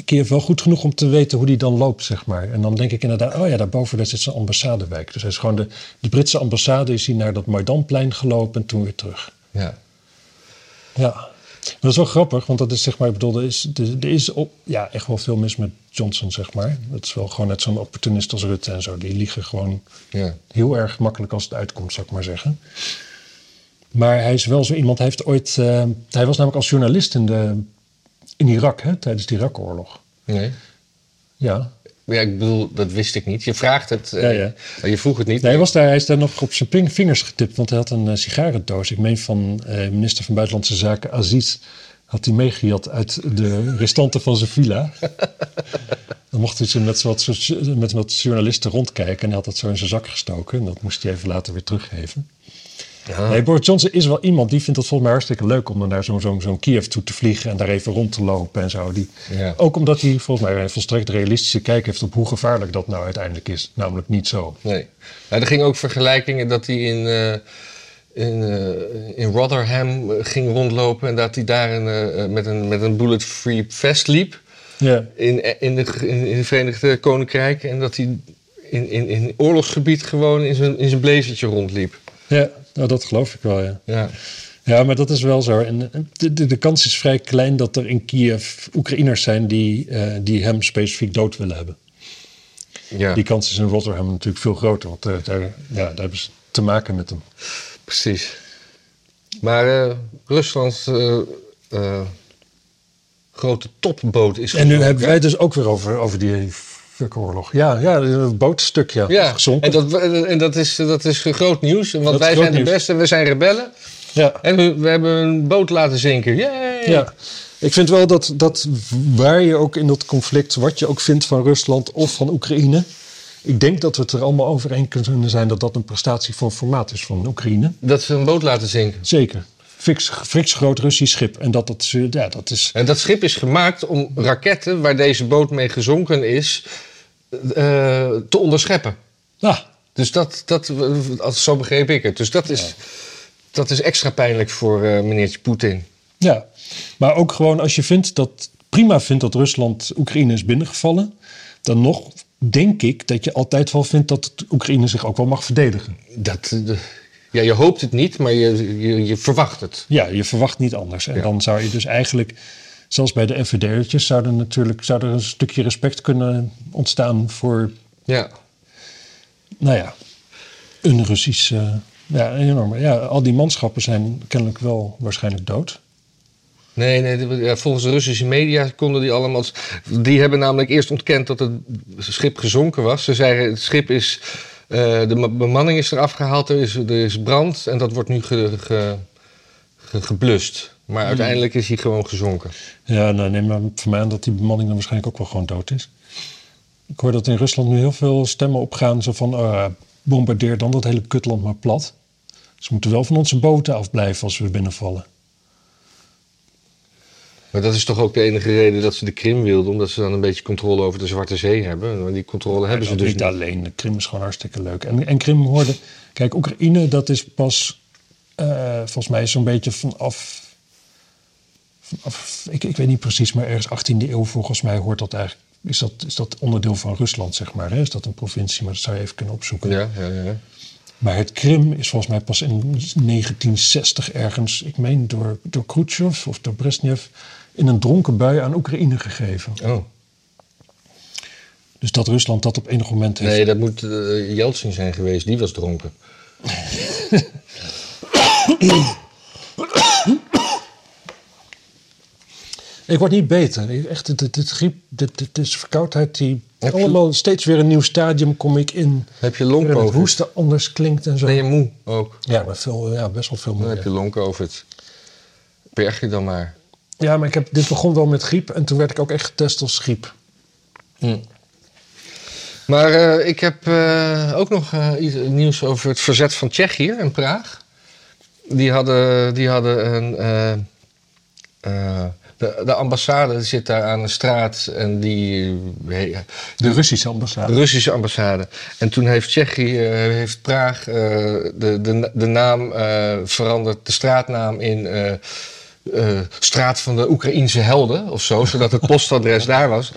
B: Kiev wel goed genoeg om te weten hoe die dan loopt, zeg maar. En dan denk ik inderdaad, oh ja, daarboven daar zit zijn ambassadewijk. Dus hij is gewoon de, de Britse ambassade is hier naar dat Maidanplein gelopen en toen weer terug.
A: Ja.
B: Ja. Maar dat is wel grappig, want dat is zeg maar, ik bedoel, er is, er, er is op, ja, echt wel veel mis met Johnson, zeg maar. Dat is wel gewoon net zo'n opportunist als Rutte en zo. Die liegen gewoon
A: ja.
B: heel erg makkelijk als het uitkomt, zou ik maar zeggen. Maar hij is wel zo iemand, hij heeft ooit. eh, hij was namelijk als journalist in, de, in Irak, hè, tijdens de Irak-oorlog.
A: Nee.
B: Ja.
A: Ja, ik bedoel, dat wist ik niet. Je vraagt het. eh,
B: Ja,
A: Je vroeg het niet.
B: Nee, hij, was daar, hij is daar nog op zijn ping- vingers getipt, want hij had een eh, sigarendoos. Ik meen van eh, minister van Buitenlandse Zaken Aziz. Had hij meegejat uit de restanten van zijn villa. Dan mocht hij zo met, z'n wat, soort- met wat journalisten rondkijken. En hij had dat zo in zijn zak gestoken. En dat moest hij even later weer teruggeven.
A: Ja.
B: Nee, Boris Johnson is wel iemand die vindt het volgens mij hartstikke leuk om dan naar zo'n zo'n zo'n Kiev toe te vliegen en daar even rond te lopen en zo. Die,
A: Ja.
B: Ook omdat hij volgens mij een volstrekt realistische kijk heeft op hoe gevaarlijk dat nou uiteindelijk is. Namelijk niet zo.
A: Nee. Nou, er gingen ook vergelijkingen dat hij in, eh, in, eh, in Rotherham eh, ging rondlopen en dat hij daar een, eh, met, een, met een bullet-free vest liep
B: Ja.
A: in, in, de, in, in het Verenigd Koninkrijk en dat hij in, in, in oorlogsgebied gewoon in zijn, in zijn blazertje rondliep.
B: Ja, nou, dat geloof ik wel, ja.
A: Ja.
B: Ja, maar dat is wel zo. En eh, de, de, de kans is vrij klein dat er in Kiev Oekraïners zijn die, eh, die hem specifiek dood willen hebben.
A: Ja,
B: Die kans is in Rotterdam natuurlijk veel groter, want eh, daar, ja, daar hebben ze te maken met hem.
A: precies. Maar eh, Ruslands eh, eh, grote topboot is
B: En nu
A: gezonken.
B: hebben wij het dus ook weer over, over die fuckoorlog. Ja, ja, een bootstuk, ja.
A: Ja,
B: Gezonken.
A: en dat, en dat, is, eh, dat is groot nieuws, want wij
B: is groot
A: zijn de
B: nieuws.
A: beste, we zijn rebellen.
B: ja.
A: En we, we hebben een boot laten zinken. Yay!
B: ja. Ik vind wel dat, dat waar je ook in dat conflict, wat je ook vindt van Rusland of van Oekraïne. Ik denk dat we het er allemaal over eens kunnen zijn dat dat een prestatie van formaat is van Oekraïne.
A: Dat ze een boot laten zinken.
B: Zeker. Fiks, fiks groot Russisch schip. En dat, dat, eh, ja, dat is.
A: En dat schip is gemaakt om raketten waar deze boot mee gezonken is, eh, te onderscheppen.
B: Nou,
A: Dus dat, dat, eh, als- zo begreep ik het. Dus dat is, dat is extra pijnlijk voor eh meneertje Poetin.
B: Ja, maar ook gewoon als je vindt dat, prima vindt dat Rusland Oekraïne is binnengevallen, dan nog denk ik dat je altijd wel vindt dat Oekraïne zich ook wel mag verdedigen.
A: Dat, eh, de- ja, je hoopt het niet, maar je, je, je verwacht het.
B: Ja, je verwacht niet anders. En
A: Ja.
B: dan zou je dus eigenlijk, zelfs bij de NVD'ertjes, zou er natuurlijk zou er een stukje respect kunnen ontstaan voor,
A: Ja.
B: nou ja, een Russisch. eh, ja, enorm. Ja, al die manschappen zijn kennelijk wel waarschijnlijk dood.
A: Nee, nee, de- ja, volgens de Russische media konden die allemaal. Die hebben namelijk eerst ontkend dat het schip gezonken was. Ze zeiden: het schip is. eh, de ma- bemanning is eraf gehaald, er is, er is brand en dat wordt nu ge- ge- ge- geblust. Maar uiteindelijk is hij gewoon gezonken.
B: Ja, nou neem maar van mij aan dat die bemanning dan waarschijnlijk ook wel gewoon dood is. Ik hoor dat in Rusland nu heel veel stemmen opgaan. Zo van, eh, bombardeer dan dat hele kutland maar plat. Ze moeten wel van onze boten afblijven als we binnenvallen.
A: Maar dat is toch ook de enige reden dat ze de Krim wilden, omdat ze dan een beetje controle over de Zwarte Zee hebben. Maar die controle hebben ze
B: Dat
A: dus
B: niet
A: niet.
B: alleen. De Krim is gewoon hartstikke leuk. En, en Krim hoorde... Kijk, Oekraïne, dat is pas... eh, volgens mij zo'n beetje vanaf... vanaf ik, ik weet niet precies, maar ergens 18e eeuw volgens mij hoort dat eigenlijk... Is dat, is dat onderdeel van Rusland, zeg maar. Hè? Is dat een provincie? Maar dat zou je even kunnen opzoeken.
A: Ja, ja, ja.
B: Maar het Krim is volgens mij pas in 1960 ergens, ik meen door, door Khrushchev of door Brezhnev, in een dronken bui aan Oekraïne gegeven.
A: Oh.
B: Dus dat Rusland dat op enig moment heeft.
A: Nee, dat moet eh, Jeltsin zijn geweest, die was dronken.
B: Ik word niet beter. Ik- Echt, dit, dit griep, dit, dit is verkoudheid die.
A: Heb je-
B: allemaal steeds weer een nieuw stadium kom ik in.
A: Heb je
B: waarin Het
A: longcovid?
B: hoesten anders klinkt en zo.
A: Ben je moe ook?
B: Ja, maar veel, ja, best wel veel
A: Dan
B: meer.
A: heb je longcovid. Berg je dan maar.
B: Ja, maar ik heb, dit begon wel met griep en toen werd ik ook echt getest als griep.
A: Maar eh, ik heb eh, ook nog eh, iets nieuws over het verzet van Tsjechië in Praag. Die hadden, die hadden een. eh, eh, de, de ambassade zit daar aan een straat en die. eh,
B: De Russische ambassade.
A: de Russische ambassade. En toen heeft Tsjechië, eh, heeft Praag eh, de, de, de naam eh, veranderd, de straatnaam in eh, eh, Straat van de Oekraïense Helden of zo, zodat het postadres daar was.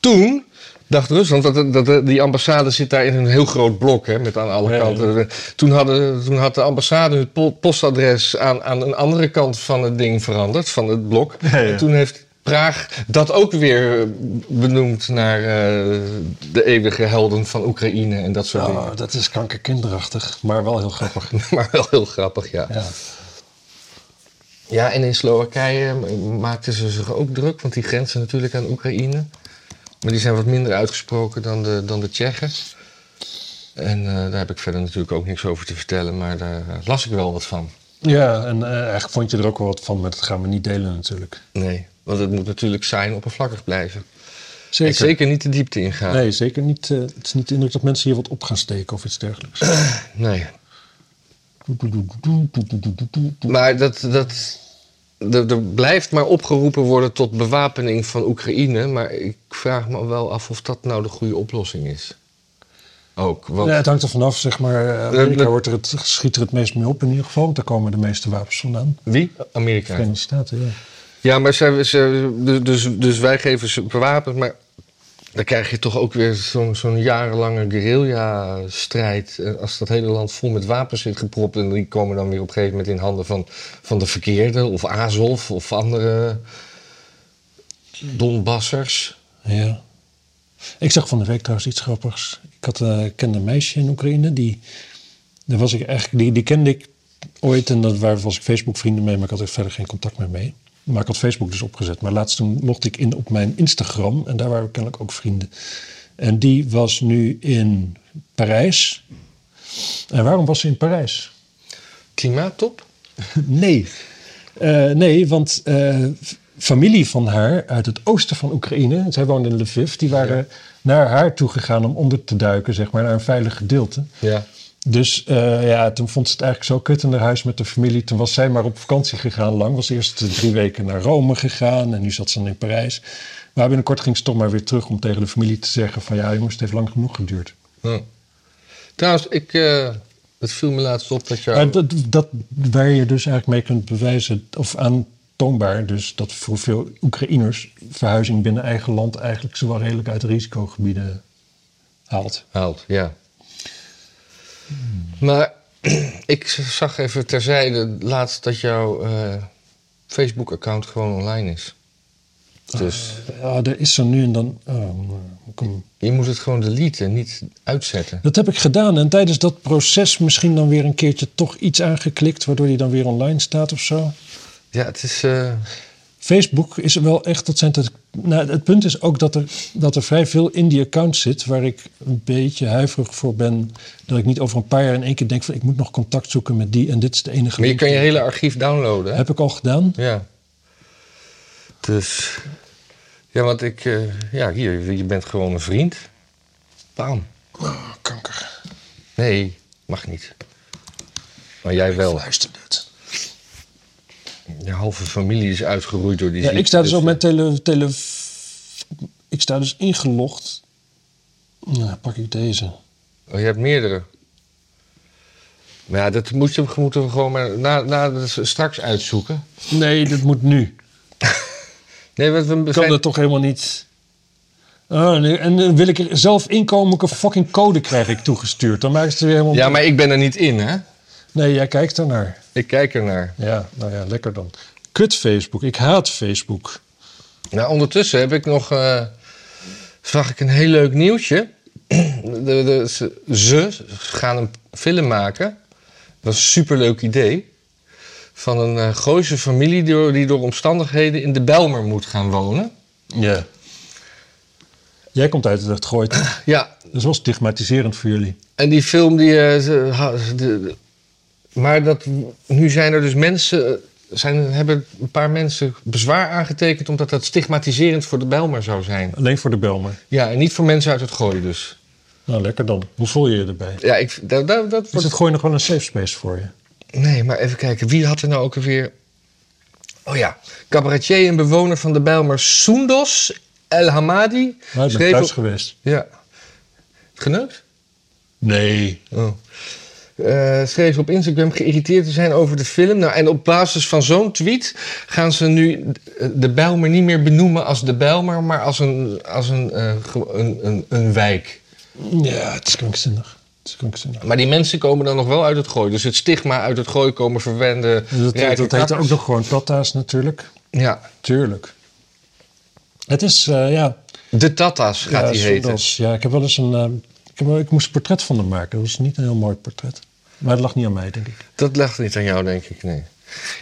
A: Toen dacht Rusland, dat, dat, dat- die ambassade zit daar in een heel groot blok, hè, met aan alle
B: Ja, ja.
A: kanten. Toen, hadden, toen had de ambassade het po- postadres aan, aan een andere kant van het ding veranderd, van het blok.
B: Ja, ja.
A: En toen heeft Praag dat ook weer eh, benoemd naar eh, de eeuwige helden van Oekraïne en dat soort
B: Oh,
A: dingen.
B: dat is kankerkinderachtig, maar wel heel grappig.
A: Maar wel heel grappig, ja.
B: Ja.
A: Ja, en in Slowakije eh, maakten ze zich ook druk, want die grenzen natuurlijk aan Oekraïne. Maar die zijn wat minder uitgesproken dan de, dan de Tsjechen. En eh, daar heb ik verder natuurlijk ook niks over te vertellen, maar daar eh, las ik wel wat van.
B: Ja, en eh, eigenlijk vond je er ook wel wat van, maar dat gaan we niet delen natuurlijk.
A: Nee, want het moet natuurlijk saai en oppervlakkig blijven.
B: Zeker.
A: En zeker niet de diepte ingaan.
B: Nee, zeker niet. eh, het is niet de indruk dat mensen hier wat op gaan steken of iets dergelijks.
A: nee. Maar dat, dat, er, er blijft maar opgeroepen worden tot bewapening van Oekraïne. Maar ik vraag me wel af of dat nou de goede oplossing is. Ook, want...
B: Ja, het hangt er vanaf, zeg maar. eh,
A: Eh,
B: Amerika
A: dat-
B: wordt er het, schiet er het meest mee op in ieder geval, want daar komen de meeste wapens vandaan.
A: Wie? Amerika.
B: Verenigde Staten, ja.
A: Ja, maar zij, ze, dus- dus, dus wij geven ze wapens, maar... Dan krijg je toch ook weer zo'n zo'n jarenlange guerrilla-strijd. Eh, Als dat hele land vol met wapens zit gepropt. En die komen dan weer op een gegeven moment in handen van, van de verkeerde. Of Azov of andere Donbassers.
B: Ja. Ik zag van de week trouwens iets grappigs. Ik had, eh, ik kende een meisje in Oekraïne, die, daar was ik eigenlijk, die, die kende ik ooit en daar waren- was ik Facebook vrienden mee, maar ik had er verder geen contact meer mee. Maar ik had Facebook dus opgezet. Maar laatst toen mocht ik in op mijn Instagram en daar waren we kennelijk ook vrienden. En die was nu in Parijs. En waarom was ze in Parijs?
A: Klimaattop?
B: Nee. Eh, nee, want eh, familie van haar uit het oosten van Oekraïne, zij woonde in Lviv, die waren naar haar toe gegaan om onder te duiken, zeg maar, naar een veilig gedeelte.
A: Ja.
B: Dus eh, ja, toen vond ze het eigenlijk zo kut in haar huis met de familie. Toen was zij maar op vakantie gegaan lang. Was eerst drie weken naar Rome gegaan en nu zat ze dan in Parijs. Maar binnenkort ging ze toch maar weer terug om tegen de familie te zeggen van... ja jongens, het heeft lang genoeg geduurd.
A: Hm. Trouwens, ik, eh, het viel me laatst op dat jou...
B: Maar dat, dat waar je dus eigenlijk mee kunt bewijzen of aantoonbaar... dus dat voor veel Oekraïners verhuizing binnen eigen land... eigenlijk zowel redelijk uit de risicogebieden haalt.
A: haalt. Ja. Maar ik zag even terzijde laatst dat jouw eh, Facebook-account gewoon online is. Dus
B: Ja, er is zo nu en dan... oh, kom.
A: je moet het gewoon deleten, niet uitzetten.
B: Dat heb ik gedaan en tijdens dat proces misschien dan weer een keertje toch iets aangeklikt, waardoor die dan weer online staat of zo.
A: Ja, het is. eh,
B: Facebook is wel echt, dat zijn dat, nou, het punt is ook dat er, dat er vrij veel in die account zit waar ik een beetje huiverig voor ben. Dat ik niet over een paar jaar in één keer denk van ik moet nog contact zoeken met die en dit is de enige.
A: maar je
B: link.
A: kan je hele archief downloaden. Hè?
B: Heb ik al gedaan.
A: Ja. Dus. Ja, want ik. eh, ja, hier, je bent gewoon een vriend. Bam.
B: Oh, kanker,
A: Nee, mag niet. Maar jij wel.
B: luister dit.
A: Je halve familie is uitgeroeid door die
B: Ja,
A: ziekte,
B: ik sta dus op mijn tele, tele... Ik sta dus ingelogd. Nou, pak ik deze.
A: Oh, je hebt meerdere. Maar ja, dat moet je, moeten we gewoon maar na, na, straks uitzoeken.
B: Nee, dit moet nu.
A: Nee, want we
B: Ik kan
A: zijn...
B: dat toch helemaal niet. Ah, nee, en eh, wil ik er zelf inkomen, moet ik een fucking code krijg ik toegestuurd. Dan maken ze het weer helemaal...
A: Ja, maar ik ben er niet in, hè?
B: Nee, jij kijkt ernaar.
A: Ik kijk ernaar.
B: Ja, nou ja, lekker dan. Kut Facebook. Ik haat Facebook.
A: Nou, ondertussen heb ik nog... eh, zag ik een heel leuk nieuwtje. De, de, ze, ze gaan een film maken. Dat is een superleuk idee. Van een eh Gooise familie die door, die door omstandigheden in de Belmer moet gaan wonen.
B: Ja. Jij komt uit het gooit.
A: Ja,
B: Dat is wel stigmatiserend voor jullie.
A: En die film die. eh, ze- ha- de- de- maar dat, nu zijn er dus mensen. eh, Zijn, hebben een paar mensen bezwaar aangetekend. omdat dat stigmatiserend voor de Bijlmer zou zijn.
B: Alleen voor de Belmer.
A: Ja, en niet voor mensen uit het gooi dus.
B: Nou, lekker dan. Hoe voel je je erbij?
A: Ja, ik, dat, dat, dat
B: Is
A: wordt.
B: het gooi nog wel een safe space voor je?
A: Nee, maar even kijken. Wie had er nou ook alweer. Oh ja, cabaretier en bewoner van de Bijlmer Soendos El Hamadi.
B: Maar ik ben
A: schreef
B: thuis
A: op-
B: geweest.
A: Ja. Geneukt?
B: Nee.
A: Oh. Eh, schreef op Instagram geïrriteerd te zijn over de film. Nou, en op basis van zo'n tweet gaan ze nu de Bijlmer niet meer benoemen als de Bijlmer, maar als een, als een, eh, ge- een, een, een wijk.
B: Ja, het is krankzinnig. Het is krankzinnig.
A: Maar die mensen komen dan nog wel uit het gooi. Dus het stigma uit het gooi komen verwende.
B: Dus Dat,
A: rijke
B: dat heet
A: kakkers.
B: ook nog gewoon platta's natuurlijk.
A: Ja,
B: Tuurlijk. Het is, eh, ja...
A: de Tata's gaat
B: ja,
A: die
B: Soendos.
A: heten.
B: Eh, Ja, ik heb wel eens een... eh, ik, heb, wel- ik moest een portret van hem maken. Dat was niet een heel mooi portret. Maar het lag niet aan mij, denk ik.
A: Dat lag niet aan jou, denk ik, nee.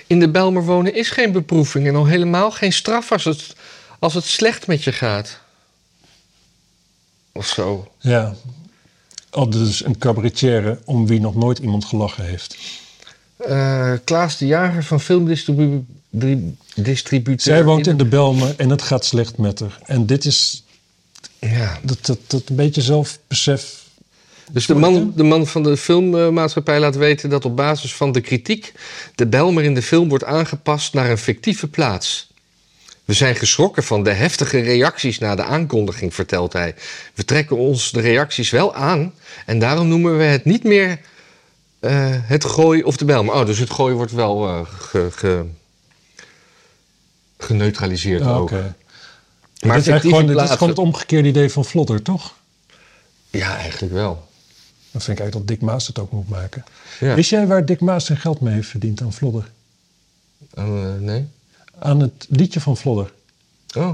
A: In de Bijlmer wonen is geen beproeving en al helemaal geen straf als het, als het slecht met je gaat. Of zo.
B: Ja. Al dus een cabaretier om wie nog nooit iemand gelachen heeft.
A: Eh, Klaas de Jager van filmdistributeur.
B: Zij woont in de Belmen en het gaat slecht met haar. En dit is
A: Ja.
B: dat, dat, dat een beetje zelfbesef.
A: Dus de man, de man van de filmmaatschappij laat weten dat op basis van de kritiek de Belmer in de film wordt aangepast naar een fictieve plaats. We zijn geschrokken van de heftige reacties na de aankondiging, vertelt hij. We trekken ons de reacties wel aan en daarom noemen we het niet meer eh, het gooi of de Belmer. Oh, dus het gooi wordt wel eh, ge, ge- geneutraliseerd
B: Ah,
A: ook.
B: Oké.
A: Maar
B: dit, is eigenlijk
A: fictieve
B: gewoon, dit is
A: plaatsen-
B: gewoon het omgekeerde idee van Vlodder, toch?
A: Ja, eigenlijk wel.
B: Dan vind ik eigenlijk dat Dick Maas het ook moet maken.
A: Ja.
B: Wist jij waar Dick Maas zijn geld mee heeft verdiend aan Vlodder?
A: Eh, nee.
B: Aan het liedje van Vlodder.
A: Oh.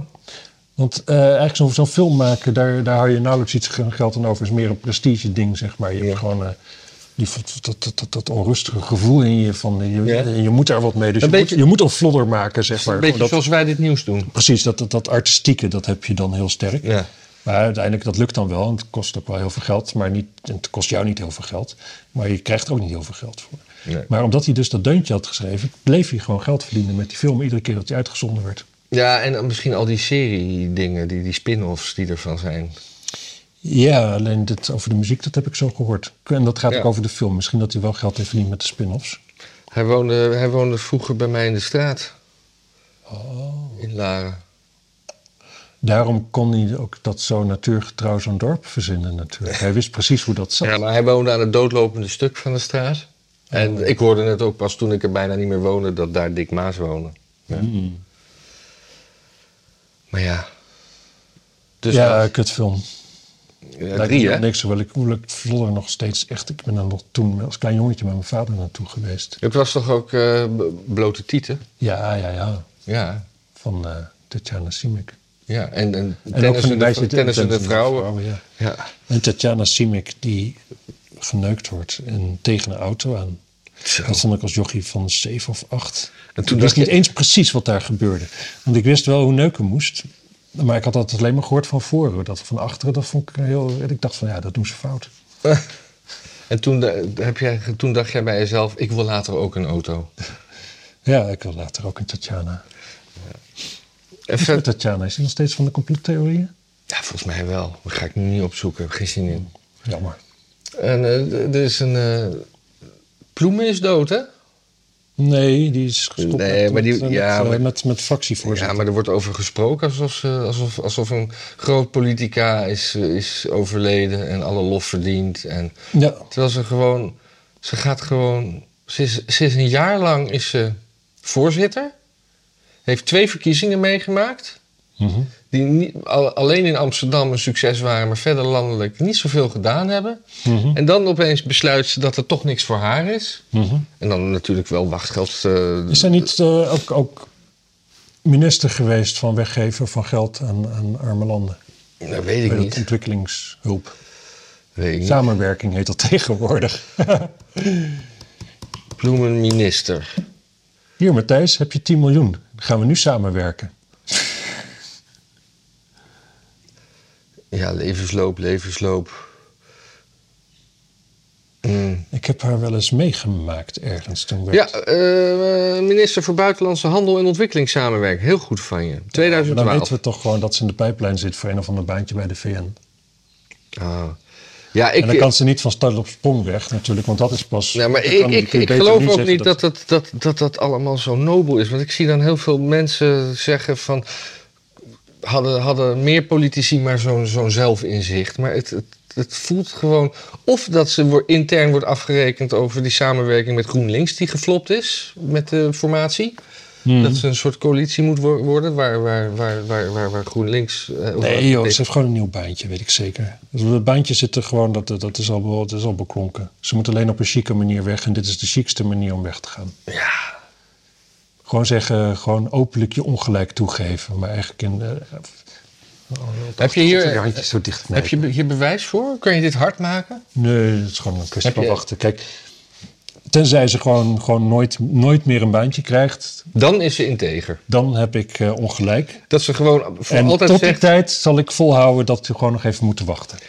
B: Want eh, eigenlijk zo'n zo'n film maken, daar, daar hou je nauwelijks iets ge- geld aan over. Het is meer een prestige ding, zeg maar. Je hebt gewoon eh, die, dat, dat, dat, dat onrustige gevoel in je van eh, je,
A: Ja.
B: je moet daar wat mee. Dus
A: Een
B: je,
A: beetje-
B: moet, je moet een vlodder maken, zeg maar.
A: een beetje
B: Dat-
A: zoals wij dit nieuws doen.
B: precies, dat, dat, dat artistieke, dat heb je dan heel sterk.
A: Ja.
B: Maar uiteindelijk, dat lukt dan wel. En het kost ook wel heel veel geld. Maar niet, en het kost jou niet heel veel geld. Maar je krijgt er ook niet heel veel geld voor.
A: Nee.
B: Maar omdat hij dus dat deuntje had geschreven... bleef hij gewoon geld verdienen met die film... iedere keer dat hij uitgezonden werd.
A: Ja, en dan misschien al die serie-dingen, die, die spin-offs die ervan zijn.
B: Ja, alleen dit over de muziek, dat heb ik zo gehoord. En dat gaat
A: Ja.
B: ook over de film. Misschien dat hij wel geld heeft verdiend met de spin-offs.
A: Hij woonde, hij woonde vroeger bij mij in de straat. In Laren.
B: Daarom kon hij ook dat zo natuurgetrouw zo'n dorp verzinnen natuurlijk. Hij wist precies hoe dat zat.
A: Ja, maar hij woonde aan het doodlopende stuk van de straat. En ik hoorde het ook pas toen ik er bijna niet meer woonde dat daar Dick Maas woonde. Ja. Maar ja. Dus
B: ja,
A: dat-
B: kutfilm.
A: ja,
B: Lijkt
A: drie,
B: me
A: hè?
B: Niks, hoewel ik, hoewel ik vlodder nog steeds echt... Ik ben er nog toen als klein jongetje met mijn vader naartoe geweest.
A: Het was toch ook eh, b- blote tieten?
B: Ja, ja, ja.
A: Ja.
B: Van eh Tatjana Simic.
A: ja. En, en,
B: En ook
A: tennis en
B: van die
A: de,
B: meisje...
A: tennis en de vrouwen.
B: ja.
A: Ja.
B: En Tatjana Simic die geneukt wordt en tegen een auto aan.
A: Zo.
B: Dat stond ik als jochie van zeven of acht.
A: En toen dacht
B: ik wist niet
A: je-
B: eens precies wat daar gebeurde. Want ik wist wel hoe neuken moest. Maar ik had dat alleen maar gehoord van voren. Dat van achteren, dat vond ik heel... Ik dacht van, ja, dat doen ze fout.
A: En toen, de- heb jij, toen dacht jij bij jezelf, ik wil later ook een auto.
B: Ja, ik wil later ook een Tatjana.
A: En
B: Is
A: ver-
B: met Tatjana, is die nog steeds van de complottheorieën?
A: ja, volgens mij wel. Dat ga ik nu niet opzoeken. Geen zin in.
B: Jammer.
A: En eh, d- er is een... eh, Ploemen is dood, hè?
B: Nee, die is gestopt
A: Nee,
B: met,
A: maar die-
B: met,
A: ja,
B: eh,
A: maar-
B: met, met fractievoorzitter.
A: Ja, maar er wordt over gesproken alsof, ze, alsof, alsof een groot politica is, eh, is overleden en alle lof verdient. En,
B: Ja,
A: terwijl ze gewoon... Ze gaat gewoon... Ze is, ze is een jaar lang is ze voorzitter. Heeft twee verkiezingen meegemaakt.
B: Mhm.
A: die niet, al- alleen in Amsterdam een succes waren, maar verder landelijk niet zoveel gedaan hebben.
B: Mhm.
A: En dan opeens besluit ze dat er toch niks voor haar is.
B: Mhm.
A: En dan natuurlijk wel wachtgeld. eh,
B: Is zij niet eh, ook, ook minister geweest van weggeven van geld aan, aan arme landen?
A: dat nou, weet ik
B: Bij
A: niet.
B: dat ontwikkelingshulp.
A: Weet ik niet.
B: Samenwerking heet dat tegenwoordig.
A: Bloemenminister.
B: Hier, Matthijs, heb je 10 miljoen. Dan gaan we nu samenwerken.
A: Ja, levensloop, levensloop. Mm.
B: Ik heb haar wel eens meegemaakt ergens toen werd.
A: Ja, eh, minister voor Buitenlandse Handel en Ontwikkelingssamenwerking. Heel goed van je.
B: Maar dan
A: 2012.
B: weten we toch gewoon dat ze in de pijplijn zit voor een of ander baantje bij de VN.
A: Ah. Ja, ik, eh,
B: en dan kan ze niet van start op sprong weg natuurlijk, want dat is pas...
A: Ja, maar
B: dat
A: ik,
B: kan-
A: ik,
B: kun je
A: ik
B: beter
A: geloof
B: nu
A: ook
B: zeggen
A: niet dat dat, dat, dat dat allemaal zo nobel is. Want ik zie dan heel veel mensen zeggen van... Hadden, hadden meer politici maar zo'n zo'n zelfinzicht. Maar het, het, het voelt gewoon... Of dat ze wo- intern wordt afgerekend over die samenwerking met GroenLinks... die geflopt is met de formatie.
B: Hmm.
A: Dat ze een soort coalitie moet wo- worden waar, waar, waar, waar, waar, waar GroenLinks... eh, of-
B: Nee joh, ze heeft gewoon een nieuw baantje, weet ik zeker. Dus Dat baantje zit er gewoon, dat, dat, is al, be- dat is al beklonken. Ze moet alleen op een chique manier weg en dit is de chicste manier om weg te gaan.
A: Ja,
B: Gewoon zeggen, gewoon openlijk je ongelijk toegeven. Maar eigenlijk in... eh,
A: Heb je hier-
B: God, je handjes zo dicht
A: heb je be- hier bewijs voor? Kan je dit hard maken?
B: Nee, dat is gewoon een kwestie
A: Heb
B: van
A: je-
B: wachten. Kijk, tenzij ze gewoon, gewoon nooit, nooit meer een baantje krijgt...
A: Dan is ze integer.
B: dan heb ik eh, ongelijk.
A: Dat ze gewoon voor
B: en
A: altijd
B: tot
A: zegt...
B: die tijd zal ik volhouden dat we gewoon nog even moeten wachten.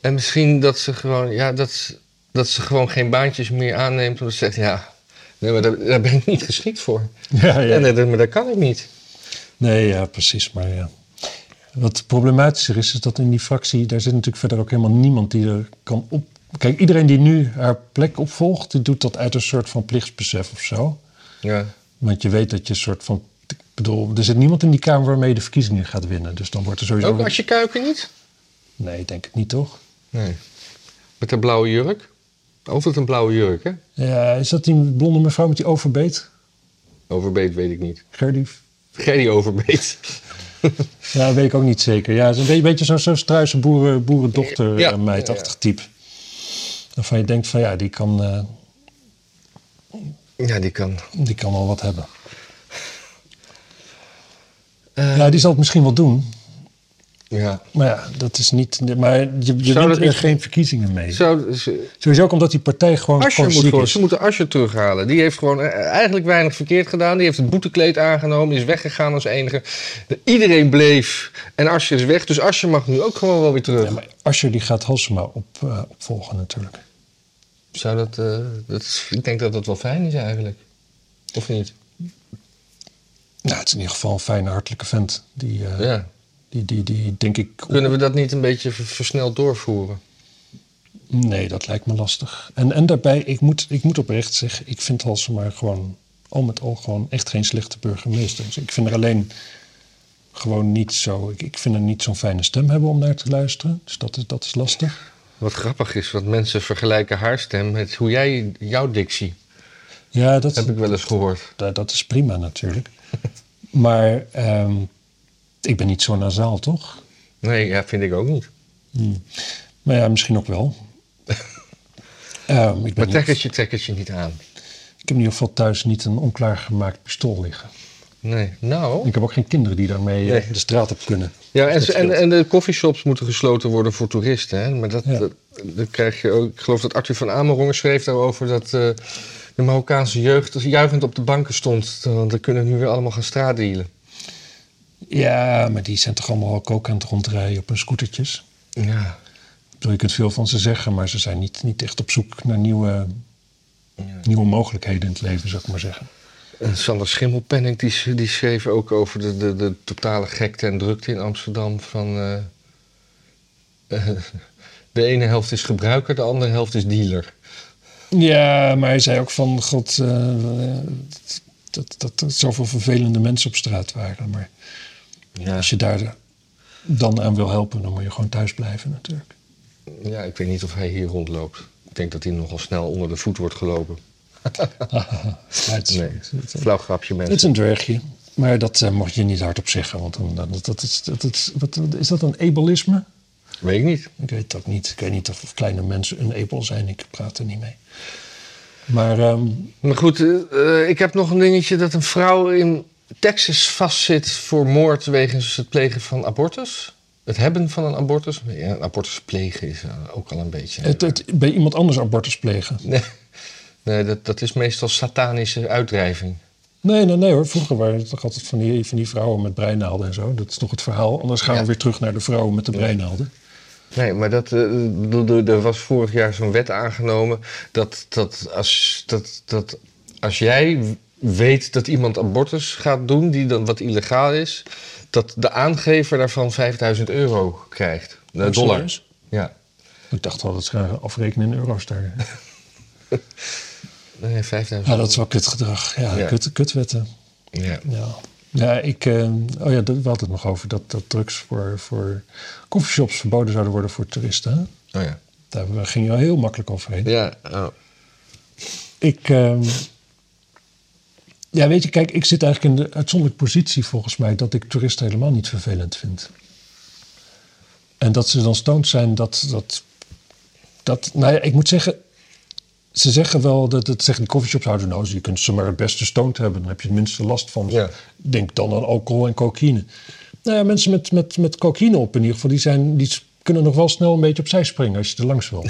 A: En misschien dat ze gewoon, ja, dat, ze- dat ze gewoon geen baantjes meer aanneemt. Omdat ze zegt, ja, nee, maar daar, daar ben ik niet geschikt voor.
B: Ja,
A: Ja, nee, dat, maar dat kan ik niet.
B: Nee, ja, precies. Maar ja. Wat problematischer is, is dat in die fractie... daar zit natuurlijk verder ook helemaal niemand die er kan op... Kijk, iedereen die nu haar plek opvolgt... die doet dat uit een soort van plichtsbesef of zo.
A: Ja.
B: Want je weet dat je een soort van... Ik bedoel, er zit niemand in die Kamer waarmee je de verkiezingen gaat winnen. Dus dan wordt er sowieso...
A: Ook als je kuiken niet?
B: Nee, denk ik niet, toch?
A: Nee. Met een blauwe jurk? Altijd een blauwe jurk, hè?
B: Ja, is dat die blonde mevrouw met die overbeet?
A: Overbeet weet ik niet.
B: Gerdy?
A: Gerry Overbeet.
B: Ja, weet ik ook niet zeker. Ja, het is een beetje, beetje zo'n zo struise boeren, boerendochter
A: Ja,
B: eh, meidachtig type. Waarvan je denkt van ja, die kan, eh,
A: Ja, die kan.
B: die kan wel wat hebben.
A: Eh,
B: ja, die zal het misschien wel doen.
A: Ja.
B: Maar ja, dat is niet... Maar je, je
A: dat
B: wint er
A: niet-
B: geen verkiezingen mee.
A: Zou, ze,
B: Sowieso ook omdat die partij gewoon
A: Asscher moet
B: gewoon ziek
A: gewoon,
B: is.
A: ze moeten Asscher terughalen. Die heeft gewoon eh, eigenlijk weinig verkeerd gedaan. Die heeft het boetekleed aangenomen, is weggegaan als enige. Iedereen bleef en Asscher is weg. Dus Asscher mag nu ook gewoon wel weer terug.
B: Ja, maar Asscher die gaat Halsema op, eh, opvolgen natuurlijk.
A: Zou dat, eh, dat is- ik denk dat dat wel fijn is eigenlijk. Of niet?
B: Nou, het is in ieder geval een fijne, hartelijke vent. Die, eh,
A: Ja.
B: die, die, die denk ik...
A: Kunnen we dat niet een beetje ver- versneld doorvoeren?
B: Nee, dat lijkt me lastig. En, en daarbij, ik moet, ik moet oprecht zeggen, ik vind Halsema gewoon al met al gewoon echt geen slechte burgemeester. Dus ik vind er alleen gewoon niet zo... Ik, ik vind er niet zo'n fijne stem hebben om naar te luisteren. Dus dat is, dat is lastig.
A: Wat grappig is, want mensen vergelijken haar stem met hoe jij jouw dictie.
B: Ja, dat...
A: Heb ik wel eens gehoord.
B: Da- dat is prima natuurlijk. maar ehm, ik ben niet zo nasaal, toch?
A: Nee, ja, vind ik ook niet. Hmm.
B: Maar ja, misschien ook wel. Ehm, ik, ben
A: Maar
B: niet-
A: trek het je, trek het je niet aan.
B: ik heb in ieder geval thuis niet een onklaargemaakt pistool liggen.
A: Nee, nou.
B: Ik heb ook geen kinderen die daarmee eh,
A: Nee.
B: de straat op kunnen.
A: Ja, en,
B: Dat scheelt.
A: en, en de coffeeshops moeten gesloten worden voor toeristen. Hè? Maar dat,
B: Ja.
A: dat, dat krijg je ook. Ik geloof dat Arthur van Amerongen schreef daarover dat eh, de Marokkaanse jeugd juichend op de banken stond. Want we kunnen nu weer allemaal gaan straatdealen.
B: Ja, maar die zijn toch allemaal ook, ook aan het rondrijden op hun scootertjes.
A: Ja.
B: Ik bedoel, je kunt veel van ze zeggen, maar ze zijn niet, niet echt op zoek naar nieuwe,
A: Ja.
B: nieuwe mogelijkheden in het leven, zou ik maar zeggen.
A: En Sander Schimmelpenning die, sch- die schreef ook over de, de, de totale gekte en drukte in Amsterdam. Van, eh, eh, de ene helft is gebruiker, de andere helft is dealer.
B: Ja, maar hij zei ook van, god, eh, dat, dat er zoveel vervelende mensen op straat waren. Maar
A: Ja.
B: als je daar dan aan wil helpen, dan moet je gewoon thuis blijven natuurlijk.
A: ja, ik weet niet of hij hier rondloopt. Ik denk dat hij nogal snel onder de voet wordt gelopen.
B: Ja, het, is,
A: Nee,
B: het,
A: flauw grapje
B: het is
A: mensen.
B: een dwergje, maar dat eh, mag je niet hardop zeggen. Want dan, dan- dat, dat, is- dat, is- wat, wat- is dat een ableisme?
A: Weet ik niet.
B: Ik weet het ook niet. Ik weet niet of kleine mensen een abel zijn. Ik praat er niet mee. Maar ehm,
A: Maar goed, eh, eh, ik heb nog een dingetje dat een vrouw in Texas vastzit voor moord wegens het plegen van abortus. Het hebben van een abortus. Ja, een abortus plegen is eh, ook al een beetje.
B: het, het, bij iemand anders abortus plegen.
A: Nee, nee dat, dat is meestal satanische uitdrijving.
B: Nee, nee, nee hoor. Vroeger waren het toch altijd van die, van die vrouwen met breinaalden en zo. Dat is toch het verhaal. Anders gaan
A: Ja.
B: we weer terug naar de vrouwen met de breinaalden.
A: Nee, maar dat, eh, ik bedoel, er- er was vorig jaar zo'n wet aangenomen dat, dat, als, dat, dat als jij weet dat iemand abortus gaat doen, die dan wat illegaal is, dat de aangever daarvan 5000 euro krijgt. Eh,
B: Oh,
A: dollar.
B: serieus?
A: Ja,
B: Ik dacht wel dat ze gaan afrekenen in euro's daar.
A: nee, 5000
B: Ja, dat is wel kutgedrag. Ja,
A: Ja.
B: Kut, kutwetten.
A: Ja.
B: Ja. Ja, ik, eh, oh ja, dat- we hadden het nog over dat, dat drugs voor, voor coffeeshops verboden zouden worden voor toeristen. hè?
A: Oh ja.
B: Daar ging je wel heel makkelijk overheen.
A: Ja, oh.
B: Ik. ehm, ja, weet je, kijk, ik zit eigenlijk in de uitzonderlijke positie volgens mij dat ik toeristen helemaal niet vervelend vind. En dat ze dan stoned zijn, dat. dat, dat nou ja, ik moet zeggen. Ze zeggen wel dat het zeggen die coffeeshops houden nou, je kunt ze maar het beste stoned hebben, dan heb je het minste last van. ze.
A: Ja.
B: Denk dan aan alcohol en cocaïne. Nou ja, mensen met, met, met cocaïne op in ieder geval, die, zijn, die kunnen nog wel snel een beetje opzij springen als je er langs wil.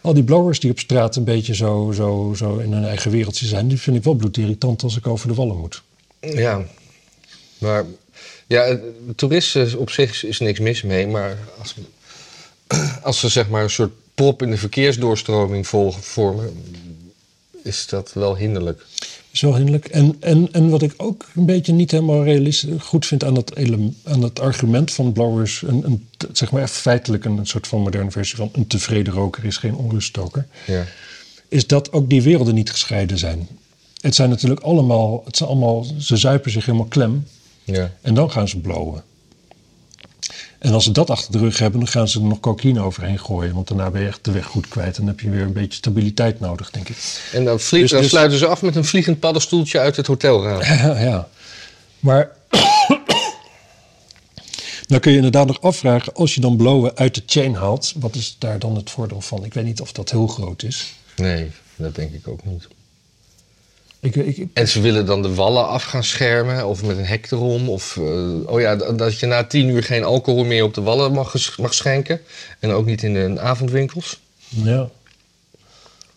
B: Al die blowers die op straat een beetje zo, zo, zo in hun eigen wereldje zijn, die vind ik wel bloedirritant als ik over de wallen moet.
A: Ja, maar ja, eh, toeristen op zich is- is niks mis mee, maar als, als ze zeg maar een soort prop in de verkeersdoorstroming volgen, vormen, is dat wel hinderlijk.
B: Dat is wel hinderlijk. En, en, en wat ik ook een beetje niet helemaal realistisch goed vind aan dat, ele- aan dat argument van blowers, een, een, zeg maar even feitelijk een, soort van moderne versie van een tevreden roker is geen onruststoker,
A: Ja.
B: is dat ook die werelden niet gescheiden zijn. Het zijn natuurlijk allemaal, het zijn allemaal ze zuipen zich helemaal klem
A: Ja.
B: En dan gaan ze blowen. En als ze dat achter de rug hebben, dan gaan ze er nog cocaïne overheen gooien. Want daarna ben je echt de weg goed kwijt. En dan heb je weer een beetje stabiliteit nodig, denk ik.
A: En dan, vlie-
B: Dus-
A: dan
B: dus-
A: sluiten ze af met een vliegend paddenstoeltje uit het hotelraam.
B: ja. Maar dan kun je inderdaad nog afvragen, als je dan blowen uit de chain haalt, wat is daar dan het voordeel van? Ik weet niet of dat heel groot is.
A: Nee, dat denk ik ook niet.
B: Ik, ik, ik-
A: En ze willen dan de wallen af gaan schermen, of met een hek erom. Of, eh, oh ja, d- dat je na tien uur geen alcohol meer op de wallen mag, ges- mag schenken. En ook niet in de avondwinkels.
B: ja.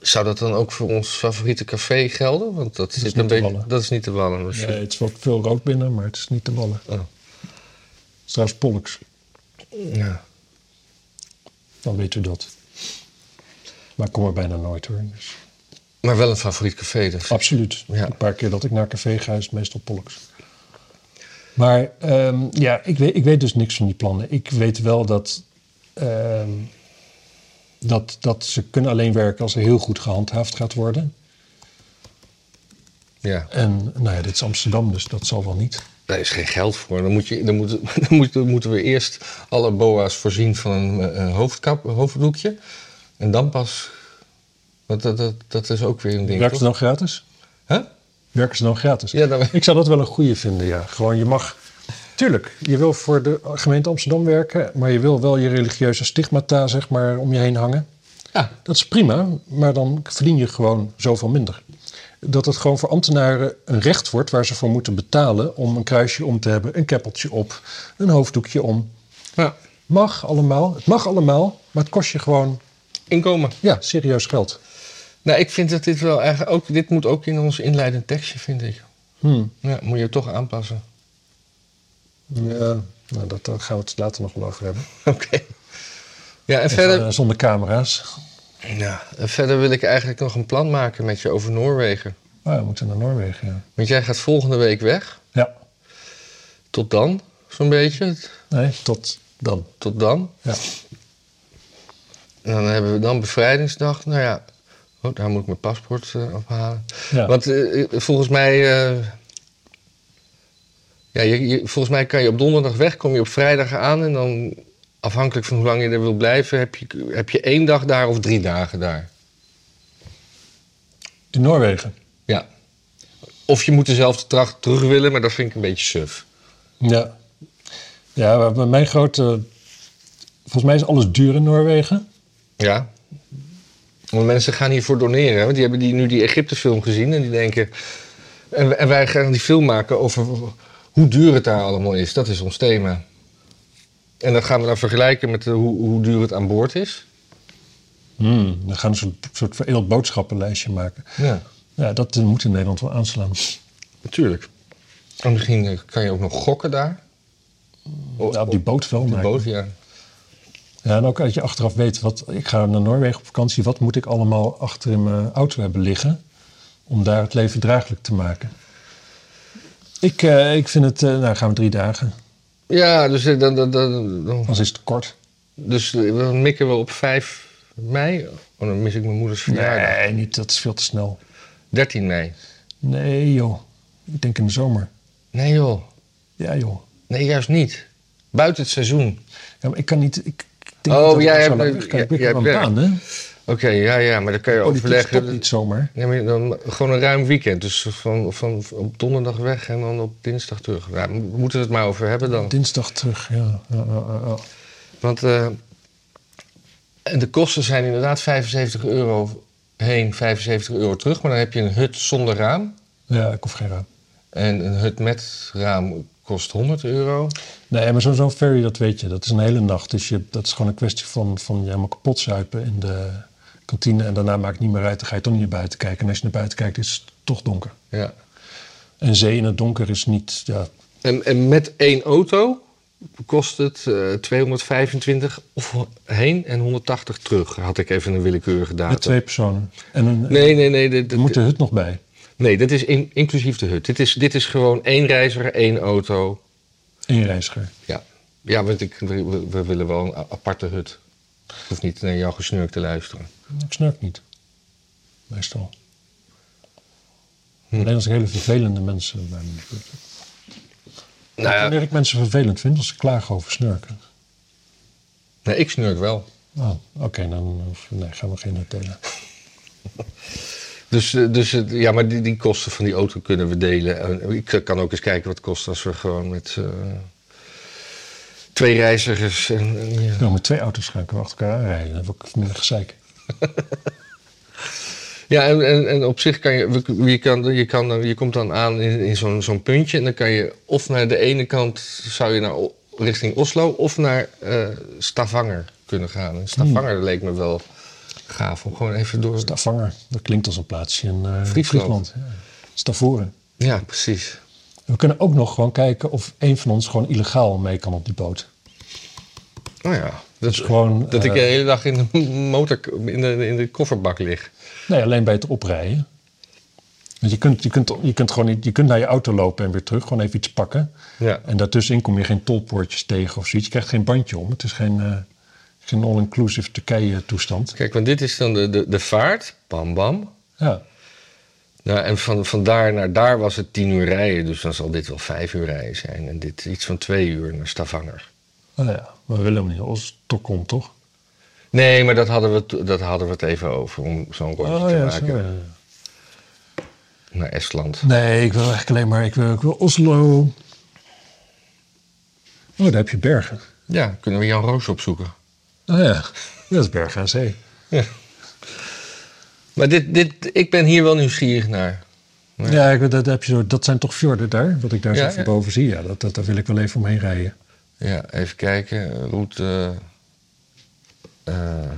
A: Zou dat dan ook voor ons favoriete café gelden? Want dat,
B: is
A: zit
B: niet
A: een
B: te
A: beetje.
B: wallen.
A: Dat is niet te wallen. dus-
B: Nee, het is wel veel rood binnen, maar het is niet te wallen.
A: Oh,
B: Het is trouwens Pollux.
A: ja.
B: Dan weet u dat. Maar ik kom er bijna nooit hoor. Dus.
A: Maar wel een favoriet café dus.
B: Absoluut.
A: Ja.
B: Een paar keer dat ik naar café ga is het meestal Pollux. Maar ehm, ja, ik weet, ik weet dus niks van die plannen. Ik weet wel dat, ehm, dat, dat ze kunnen alleen werken als er heel goed gehandhaafd gaat worden.
A: Ja.
B: En nou ja, dit is Amsterdam, dus dat zal wel niet.
A: Daar is geen geld voor. Dan, moet je, dan, moet, dan, moet, dan moeten we eerst alle boa's voorzien van een, eh, een hoofdkap, een hoofddoekje. En dan pas. Want dat, dat, dat is ook weer een ding.
B: Werken ze
A: toch?
B: dan gratis?
A: Hè?
B: Werken ze dan gratis?
A: Ja, dan-
B: Ik zou dat wel een goede vinden, ja. Gewoon, je mag... Tuurlijk, je wil voor de gemeente Amsterdam werken... maar je wil wel je religieuze stigmata, zeg maar, om je heen hangen.
A: Ja.
B: Dat is prima, maar dan verdien je gewoon zoveel minder. Dat het gewoon voor ambtenaren een recht wordt... waar ze voor moeten betalen om een kruisje om te hebben... een keppeltje op, een hoofddoekje om.
A: Ja.
B: Mag allemaal, het mag allemaal, maar het kost je gewoon
A: Inkomen.
B: ja, serieus geld.
A: Nou, ik vind dat dit wel eigenlijk ook. Dit moet ook in ons inleidend tekstje, vind ik.
B: Hmm.
A: Ja, moet je toch aanpassen.
B: Ja, nou, dat, daar gaan we het later nog wel over hebben.
A: Oké. Ja, en verder.
B: Even, eh, zonder camera's.
A: Ja, en verder wil ik eigenlijk nog een plan maken met je over Noorwegen.
B: Oh, ja, we moeten naar Noorwegen, ja.
A: Want jij gaat volgende week weg.
B: Ja,
A: Tot dan, zo'n beetje.
B: nee, tot dan.
A: Tot dan.
B: Ja.
A: En dan hebben we dan bevrijdingsdag. Nou ja, oh, daar moet ik mijn paspoort eh, ophalen.
B: Ja.
A: Want eh, eh, volgens mij... eh, ja, je, je- volgens mij kan je op donderdag weg, kom je op vrijdag aan... en dan, afhankelijk van hoe lang je er wil blijven... heb je, heb je één dag daar of drie dagen daar.
B: In Noorwegen.
A: Ja. Of je moet dezelfde tracht terug willen, maar dat vind ik een beetje suf.
B: Ja. Ja, maar bij mijn grote... Volgens mij is alles duur in Noorwegen.
A: Ja. Want mensen gaan hiervoor doneren. hè. Want die hebben die, nu die Egypte-film gezien en die denken. En, w- en wij gaan die film maken over hoe duur het daar allemaal is. Dat is ons thema. En dat gaan we dan vergelijken met eh, hoe, hoe duur het aan boord is.
B: Hmm. We gaan een soort, soort vereeld boodschappenlijstje maken.
A: Ja,
B: Ja, dat eh, moet in Nederland wel aanslaan.
A: natuurlijk. En misschien eh, kan je ook nog gokken daar. O-
B: Ja, Oh, op die boot wel.
A: op de
B: maar-
A: boot, ja.
B: Ja, en ook dat je achteraf weet, wat, ik ga naar Noorwegen op vakantie. Wat moet ik allemaal achter in mijn auto hebben liggen om daar het leven draaglijk te maken? Ik, eh, ik vind het, eh, nou gaan we drie dagen,
A: Ja, dus, eh, dan, dan, dan, dan-
B: anders is het te kort.
A: dus eh, dan mikken we op 5 mei. Oh, dan mis ik mijn moeders verjaardag.
B: Nee, niet, dat is veel te snel.
A: 13 mei.
B: Nee joh, ik denk in de zomer.
A: Nee joh.
B: Ja joh.
A: Nee, juist niet. Buiten het seizoen.
B: Ja, maar ik kan niet, ik, ik denk
A: Oh,
B: niet dat
A: jij
B: ik zo
A: hebt-
B: lang weg kan. Ik
A: jij-
B: heb wel een
A: jij hebt
B: baan hè.
A: Oké, ja, ja, maar dan kan je
B: Politiek stopt
A: overleggen.
B: niet zomaar.
A: Ja, maar dan gewoon een ruim weekend. Dus van, van op donderdag weg en dan op dinsdag terug. Ja, we moeten we het maar over hebben dan.
B: Dinsdag terug, ja. ja, ja, ja, ja.
A: Want eh, en de kosten zijn inderdaad 75 euro heen, 75 euro terug. Maar dan heb je een hut zonder raam.
B: Ja, ik hoef geen raam.
A: En een hut met raam kost 100 euro.
B: Nee, maar zo- zo'n ferry, dat weet je. Dat is een hele nacht. Dus je, dat is gewoon een kwestie van, van ja, maar kapot zuipen in de kantine. En daarna maakt het niet meer uit. Dan ga je toch niet naar buiten kijken. En als je naar buiten kijkt, is het toch donker.
A: Ja.
B: En zee in het donker is niet... Ja,
A: En, en met één auto kost het eh, 225 of heen en 180 terug. Had ik even een willekeurige datum.
B: met twee personen. En een,
A: Nee, nee, nee. Dit,
B: er
A: dit-
B: moet de hut nog bij.
A: nee, dat is in- inclusief de hut. Dit is, dit is gewoon één reiziger, één auto.
B: Eén reiziger.
A: Ja, ja want ik, we, we willen wel een a- aparte hut. Ik hoef niet naar jouw gesnurk te luisteren.
B: Ik snurk niet. Meestal.
A: Hm.
B: Alleen als ik hele vervelende mensen bij me heb.
A: Nou ja,
B: Wanneer ik mensen vervelend vind, als ze klagen over snurken.
A: nee, ik snurk wel.
B: Oh, oké, dan hoef- nee, gaan we geen hut delen.
A: Dus, eh, dus het- ja, maar die, die kosten van die auto kunnen we delen. En Ik eh, kan ook eens kijken wat het kost als we gewoon met eh, twee reizigers. En, en, ja.
B: Nou, met twee auto's gaan we achter elkaar aanrijden. Dan heb ik minder gezeik.
A: Ja, en, en, en op zich kan je, we- je, kan, je, kan, dan- je komt dan aan in, in zo'n zo'n puntje. En dan kan je of naar de ene kant zou je naar, O- richting Oslo of naar eh, Stavanger kunnen gaan. En Stavanger
B: Hmm.
A: leek me wel gaaf om gewoon even door.
B: Stavanger, dat klinkt als een plaatsje in eh,
A: Friesland.
B: Friesland. Ja. Stavoren.
A: ja, precies.
B: We kunnen ook nog gewoon kijken of een van ons gewoon illegaal mee kan op die boot.
A: Nou ja, dat,
B: Dus gewoon,
A: dat ik de
B: eh,
A: hele dag in de, motor, in de, in de kofferbak lig.
B: Nee, alleen bij het oprijden. Want je kunt, je, kunt, je, kunt gewoon, niet- je kunt naar je auto lopen en weer terug, gewoon even iets pakken.
A: Ja.
B: En daartussenin kom je geen tolpoortjes tegen of zoiets. Je krijgt geen bandje om. Het is geen, eh, geen all-inclusive Turkije toestand.
A: Kijk, want dit is dan de, de, de vaart. Bam, bam.
B: Ja,
A: Nou, en van, van daar naar daar was het tien uur rijden. Dus dan zal dit wel vijf uur rijden zijn. En dit iets van twee uur naar Stavanger.
B: nou ja, maar we willen hem niet. Als Stockholm toch?
A: Nee, maar dat hadden we, to- dat hadden we het even over. Om zo'n rondje te maken
B: zo, Oh ja.
A: naar Estland.
B: Nee, ik wil eigenlijk alleen maar... Ik wil, ik wil Oslo. Oh, daar heb je bergen.
A: Ja, kunnen we Jan Roos opzoeken.
B: Oh ja, dat is bergen aan zee.
A: Maar dit, dit, ik ben hier wel nieuwsgierig naar.
B: Ja, ik, weet- dat, heb je zo, dat zijn toch fjorden daar, wat ik daar
A: Ja,
B: zo van
A: ja.
B: boven zie. Ja, dat, dat, daar wil ik wel even omheen rijden.
A: Ja, even kijken. Route. eh, eh,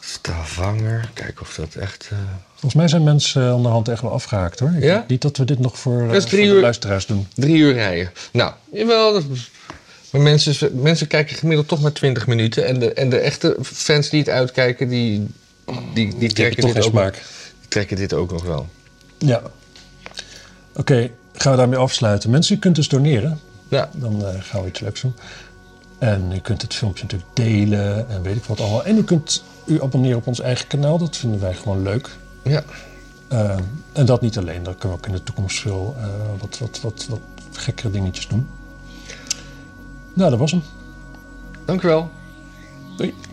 A: Stavanger. Kijken of dat echt. eh,
B: Volgens mij zijn mensen eh, onderhand echt wel afgehaakt hoor. Ik
A: Ja?
B: denk Niet dat we dit nog voor, eh,
A: Dat is
B: voor
A: drie
B: de
A: uur.
B: luisteraars doen.
A: drie uur rijden. Nou, jawel. dat- Maar mensen, mensen kijken gemiddeld toch maar 20 minuten. En de, en de echte fans die het uitkijken, die, die, die, trekken,
B: toch
A: dit
B: geen
A: ook,
B: smaak.
A: die trekken dit ook nog wel.
B: Ja. Oké, gaan we daarmee afsluiten. Mensen, u kunt dus doneren.
A: Nou,
B: Dan eh, gaan we iets leuks doen. En u kunt het filmpje natuurlijk delen en weet ik wat allemaal. En u kunt u abonneren op ons eigen kanaal. Dat vinden wij gewoon leuk.
A: ja.
B: Eh, en dat niet alleen. Dan kunnen we ook in de toekomst veel eh, wat, wat, wat, wat gekkere dingetjes doen. Nou, dat was hem.
A: Dank u wel.
B: Doei.